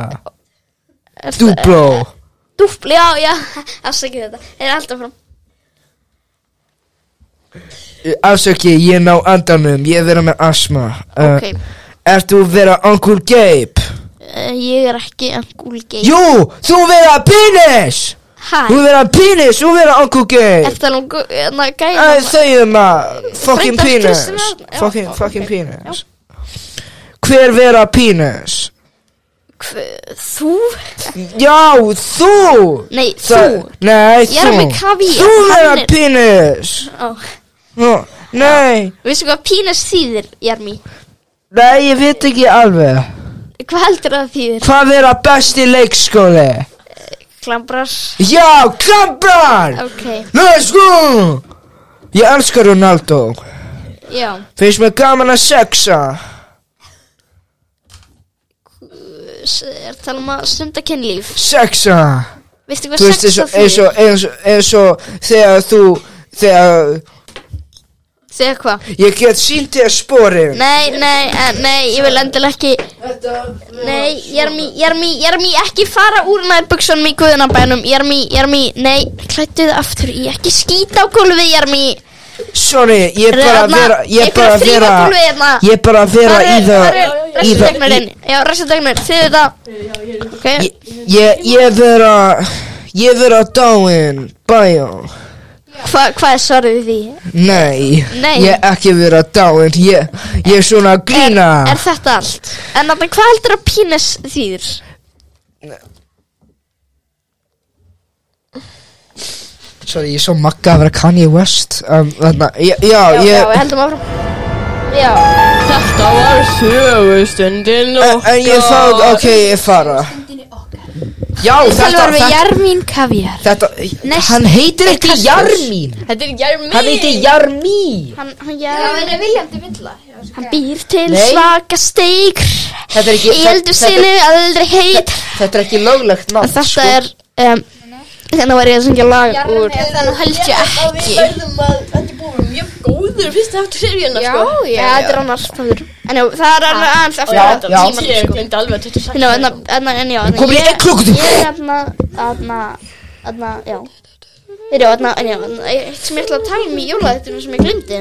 Speaker 1: Ertu-
Speaker 2: Dúbló
Speaker 1: Dúbl, já, já, afsakið þetta. Er alltaf fram.
Speaker 2: Afsöki, ég ná andanum, ég vera með asma uh,
Speaker 1: Ok,
Speaker 2: Ert þú vera Uncle Gabe?
Speaker 1: uh, ég er ekki angúl gay.
Speaker 2: Jú, þú vera penis
Speaker 1: Ha?
Speaker 2: Þú vera penis, þú vera Uncle Gabe
Speaker 1: Eftir alveg, hérna, gæði.
Speaker 2: Æ, Þau um að fucking
Speaker 1: Freydar
Speaker 2: penis
Speaker 1: Kristinn Arnar, já,
Speaker 2: Fucking,
Speaker 1: ok,
Speaker 2: fucking
Speaker 1: já.
Speaker 2: penis Hver vera penis?
Speaker 1: hv- Þú?
Speaker 2: Já, þú!
Speaker 1: Nei,
Speaker 2: Þa-
Speaker 1: þú
Speaker 2: Nei,
Speaker 1: Ég er
Speaker 2: þú.
Speaker 1: með kavíar,
Speaker 2: Þú
Speaker 1: hann
Speaker 2: meina
Speaker 1: er-
Speaker 2: penis.
Speaker 1: Ó.
Speaker 2: Nú, Nei,
Speaker 1: Veistu hvað pínas þýðir, Jarmi?
Speaker 2: nei, ég veit ekki alveg.
Speaker 1: Hvað heldur það þýðir?
Speaker 2: Hvað er að besti leikskóli?
Speaker 1: Klambrar
Speaker 2: Já, klambrar!
Speaker 1: Ok,
Speaker 2: Let's go! Ég elskar Ronaldo.
Speaker 1: já
Speaker 2: Finnst mér gaman að sexa.
Speaker 1: S- Er að tala um að stunda kynlíf
Speaker 2: Sexa.
Speaker 1: Veistu
Speaker 2: Þú
Speaker 1: hvað
Speaker 2: veist, eins
Speaker 1: sexa
Speaker 2: og, eins
Speaker 1: þýðir?
Speaker 2: og, eins og, eins og, þegar þú, þegar,
Speaker 1: Segja hvað?
Speaker 2: ég get sínt þér spórin.
Speaker 1: Nei, nei, eh, nei, ég vil endilega ekki Nei, Jarmi, Jarmi, Jarmi, ekki fara úr nærbuksunum í guðunabænum Jarmi, Jarmi, nei, klættu þið aftur í Ekki skýta á gólfið, Jarmi
Speaker 2: Sorry, ég er bara að
Speaker 1: Þarna,
Speaker 2: vera, ég er bara að
Speaker 1: einhver að
Speaker 2: vera,
Speaker 1: þrífa gólfið hérna.
Speaker 2: ég er bara að vera
Speaker 1: Hvar
Speaker 2: í
Speaker 1: er,
Speaker 2: það,
Speaker 1: hvar er
Speaker 2: í það,
Speaker 1: restardegnarinn? Já, restardegnarinn, þið þetta Ok,
Speaker 2: Ég- ég, ég vera Ég vera dáin Bæjó
Speaker 1: hva, hvað er svarið við því?
Speaker 2: Nei,
Speaker 1: Nei.
Speaker 2: ég ekki vera dáin Ég, ég er svona að grína
Speaker 1: Er þetta allt? En þarna, hvað heldur að pínis þýðir?
Speaker 2: Sorry, ég er svo magga að vera Kanye West um, þarna, já, já,
Speaker 1: Já, já,
Speaker 2: ég
Speaker 1: heldum áfram Já,
Speaker 3: Þetta var sögustundin
Speaker 2: En, en ég fáð, ok, ég fara Já, þetta,
Speaker 6: Tölvar við
Speaker 2: þetta,
Speaker 6: Jarmín Kaviar
Speaker 2: þetta Hann heitir ekki Jarmín
Speaker 3: Þetta er Jarmín
Speaker 2: Hann heitir Jarmín
Speaker 1: hann, hann, já,
Speaker 6: William de Villa
Speaker 1: hann býr til
Speaker 2: Nei.
Speaker 1: svaka steik
Speaker 2: Þetta er
Speaker 1: Í
Speaker 2: ekki, þetta, þetta,
Speaker 1: eldusinu, aldrei heit
Speaker 2: þetta er ekki löglegt sko. nátt
Speaker 1: Þetta er, um, þannig var ég að syngja lag úr
Speaker 6: Það nú held ég ekki
Speaker 3: verðum að Þetta er búin mjög góður Fyrst eftir seríuna
Speaker 6: Já,
Speaker 3: sko
Speaker 1: hérna, Já,
Speaker 6: já
Speaker 1: þetta er annars þáttur En já, það er alveg aðeins eftir
Speaker 2: Já,
Speaker 1: þetta
Speaker 2: já.
Speaker 1: tímanum,
Speaker 3: Ég
Speaker 1: sko.
Speaker 3: glemt alveg að þetta er sagt
Speaker 1: En já, en það- en það- en já en
Speaker 2: Komin í
Speaker 1: hérna, ég-
Speaker 2: einn klukkutíma.
Speaker 1: Ég er hérna, hérna, hérna, já Þeir eru hérna, en já, hérna, eitt sem ég ætla að tala um í jólaðettunum sem ég glimti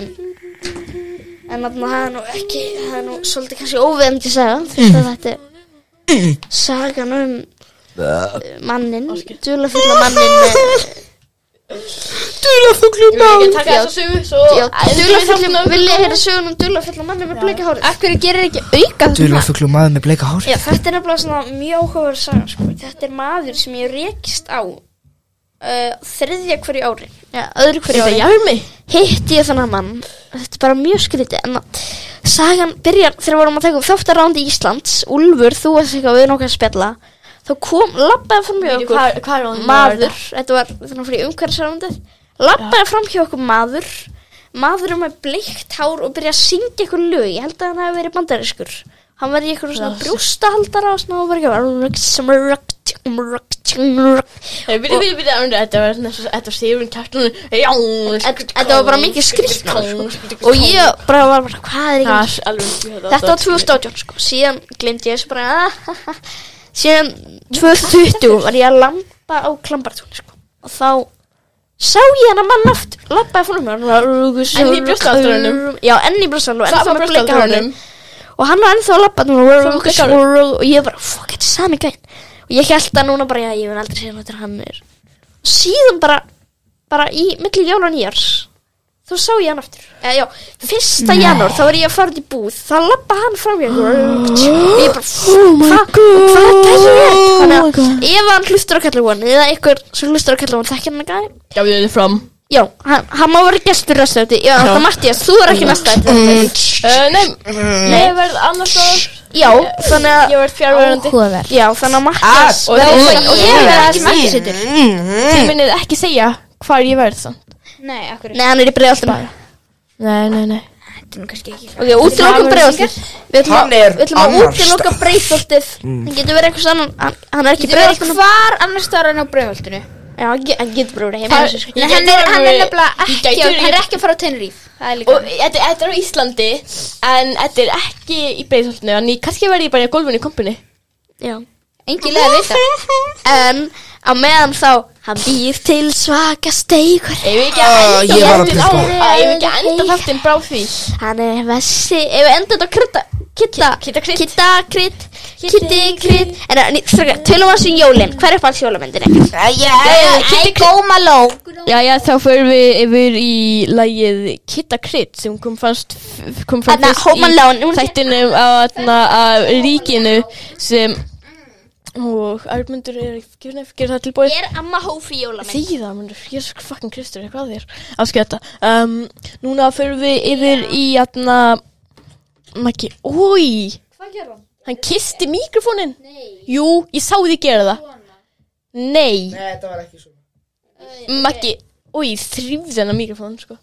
Speaker 1: En en hérna, það er nú ekki, það er nú svolítið kannski óveðandi saga Fyrst að þetta er sagan um uh, mannin, dulafulla mannin með-
Speaker 3: Ég vil ekki taka þessa sögu Svo
Speaker 1: Já, dulafulla, vil ég heyra sögun um dulafulla mannin með bleika hárið?
Speaker 6: Akkur gerir ekki auka
Speaker 2: Dulafuglu maður með bleika hár
Speaker 1: Já, þetta er nefnilega svona mjög áhugaverð saga, sko. Þetta er maður sem ég rekist á uh, þriðja hverju ári. Já, öðru hverju ári.
Speaker 3: Jarmi
Speaker 1: Hitti ég þannig mann. Þetta er bara mjög skrítið. En að sagan byrjar þegar við vorum að taka upp þáttarándi Íslands. Úlfur, þú veist eitthvað við erum okkar að spjalla. Þá kom, labbaði fram hjá okkur
Speaker 3: Hvað hvað er hann?
Speaker 1: maður. Þetta var þannig fyrir umhverfisárandið. Labbaði fram hjá okkur maður. Maður með bleikt hár og byrja að syngja eitthvað lög. Ég held að hann hafi verið bandariskur. Hann var í eitthvað svona brjóstahaldara og svona og var ekki að
Speaker 3: Hey, byrja, byrja, byrja, byrja, þetta var svona svo- Þetta var Sigurinn kjartunum
Speaker 1: Þetta var bara mikið skrýtna og ég bara var bara, hvað er ekki Þetta var 2018 sko, síðan glemdi ég þessu bara ah, ha, ha. Síðan 2020 var ég að lampa á klambartúni sko Og þá sá ég hennar mann aftur Lappaði fórum
Speaker 3: Enn
Speaker 1: Enn
Speaker 3: í brjóstahaldurunum.
Speaker 1: Já, enn í brjóstaldrunum og ennþá
Speaker 3: Sama
Speaker 1: með bleika hárið.
Speaker 3: brjóstaldrunum
Speaker 1: Og hann var ennþá að lappa
Speaker 3: með bleika
Speaker 1: Og ég bara, fuck, þetta er sami gæn Og ég held að núna bara, já, ég vil aldrei segja hann hann er Og síðan bara, bara í milli jóla og nýjars Þá sá ég hann aftur eh, Já, fyrsta janúar, þá var ég að fara út í búð Þá lappa hann fram ég Og ég bara, oh hva, hvað er það ég er? Þannig að ef hann hlustur á kallum Eða einhver sem hlustur á kallum Þekkir hann að gæn
Speaker 3: Gafið þið fram
Speaker 1: Já, hann, hann má vera gestur restu eftir Já, Mm. það Mattias, þú er ekki næsta eftir
Speaker 3: uh, Nei, nei, ég verð annars staðar
Speaker 1: Já, þannig að
Speaker 3: Ég verð fjárverandi
Speaker 6: Áhugaverð
Speaker 1: Já, þannig að Mattias
Speaker 3: Og það er
Speaker 6: Og ég verði ekki markasittur
Speaker 3: Þið minnið ekki segja hvar ég verð samt
Speaker 6: Nei, akkur
Speaker 1: Nei, hann er í bregðaltum Ok,
Speaker 3: Nei, nei, nei
Speaker 6: Þetta er nú kannski ekki
Speaker 1: útilokum bregðaltum Við ætlum
Speaker 2: Hann er
Speaker 1: að- við ætlum að
Speaker 2: annars Mm.
Speaker 1: útiloka bregðaltið Hann getur verið eitthvað annan Hann, hann er ekki
Speaker 6: Getur verið
Speaker 1: bregðaltum
Speaker 6: hvar annars staðar en á bröðhaldinu
Speaker 1: Já, hann ge- hann getur brúið heima
Speaker 3: Það-
Speaker 1: hjá sér, sko.
Speaker 3: Ég
Speaker 6: Nei,
Speaker 3: gæti
Speaker 6: hann er, hann er
Speaker 3: alveg-
Speaker 6: nefnilega
Speaker 3: ég
Speaker 6: ekki,
Speaker 3: gæti
Speaker 6: á-
Speaker 3: verið-
Speaker 6: hann er ekki að fara á Tenerife. Það er líka.
Speaker 3: Og þetta, þetta er á Íslandi En þetta er ekki í breyðsholtinu En ég kannski verði ég bara í golfinu í kompinu
Speaker 1: Já.
Speaker 6: Engin leið að vita.
Speaker 1: En á meðan þá Hann býr til svaka steikur
Speaker 3: Ef við ekki að
Speaker 2: Ah,
Speaker 3: enda
Speaker 2: ég var að
Speaker 3: þáttinn
Speaker 2: pissa.
Speaker 3: á- Ef við ekki að enda þáttin brá því
Speaker 1: Hann er vessi Ef við enda þetta á krydda Kitta
Speaker 3: Kidda krydd.
Speaker 1: Kitta krydd Kitti krydd En en, strákar, tölum að þessu um jólin Hver er bara jólamyndinni?
Speaker 6: I go Malone.
Speaker 3: Jæja, þá fyrir við yfir í lagið Kitta Krydd sem kom fannst kom fram
Speaker 1: Þarna, Home Alone,
Speaker 3: í
Speaker 1: hún-
Speaker 3: þættinum á, þarna, á ríkinu sem og Armundur er gefnir fyrir það tilbúið
Speaker 1: Er amma hófi jólamynd?
Speaker 3: Þegi það, mennur, ég er svo fucking kristur, hvað þér? Afskjöta. Um, núna förum við yfir í, hérna, Maggi, ói!
Speaker 1: Hvað gerði hann?
Speaker 3: Hann kisti mikrofónin.
Speaker 1: Nei.
Speaker 3: Jú, ég sá þig gera það. Nei,
Speaker 2: Nei, þetta var ekki svona.
Speaker 3: Maggi, ói, þrýfði hennar mikrofónin, sko.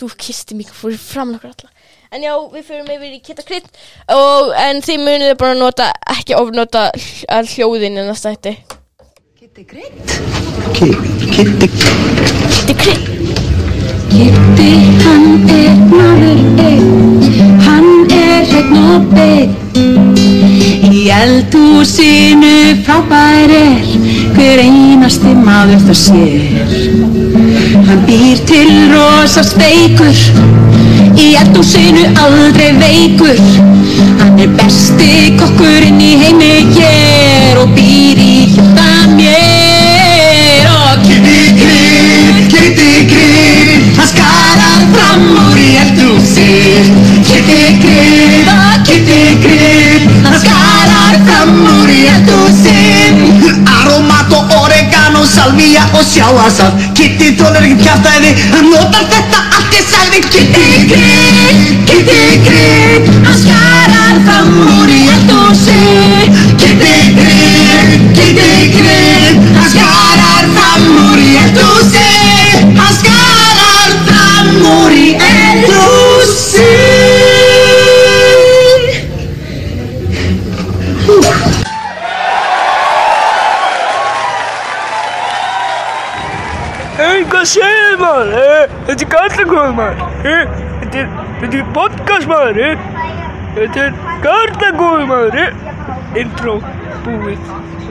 Speaker 3: Þú kisti mikrofónin fram nokkur alla. En já, við förum yfir í kitta krydd og en þið munið bara nota, ekki ofnota hl- hljóðin en það stætti. Kitti krydd?
Speaker 8: Kitti, hann er maður einn, hann er hreinn og beinn. Í eldhúsinu frábær er, hver einasti maður það sér. Hann býr til rosa speikur, í eldhúsinu aldrei veikur. Hann er besti kokkurinn í heimi hér og býr í hjarta mér. Og kitti, kitti, kitti, kitti, hann skarar fram úr í eldhúsi. Kitti, kitti, kitti, kitti, hann skarar fram úr í eldhúsi. Aromat og oregano, salvia og sjáasaf Kitty þólar ekkert kjáftæði Hann notar þetta allt ég sagði Kitty Grip, Kitty Grip Hann skarar fram úr í eldhúsi Kitty Grip, Kitty Grip Hann skarar fram úr í eldhúsi Hann skarar fram úr í eldhúsi
Speaker 4: Hey, hvað segir þið maður? Eh, Þetta er Garðakóð maður Eh, Þetta er, þetta er podcast maður eh. Þetta er Garðakóð maður eh. Intro búið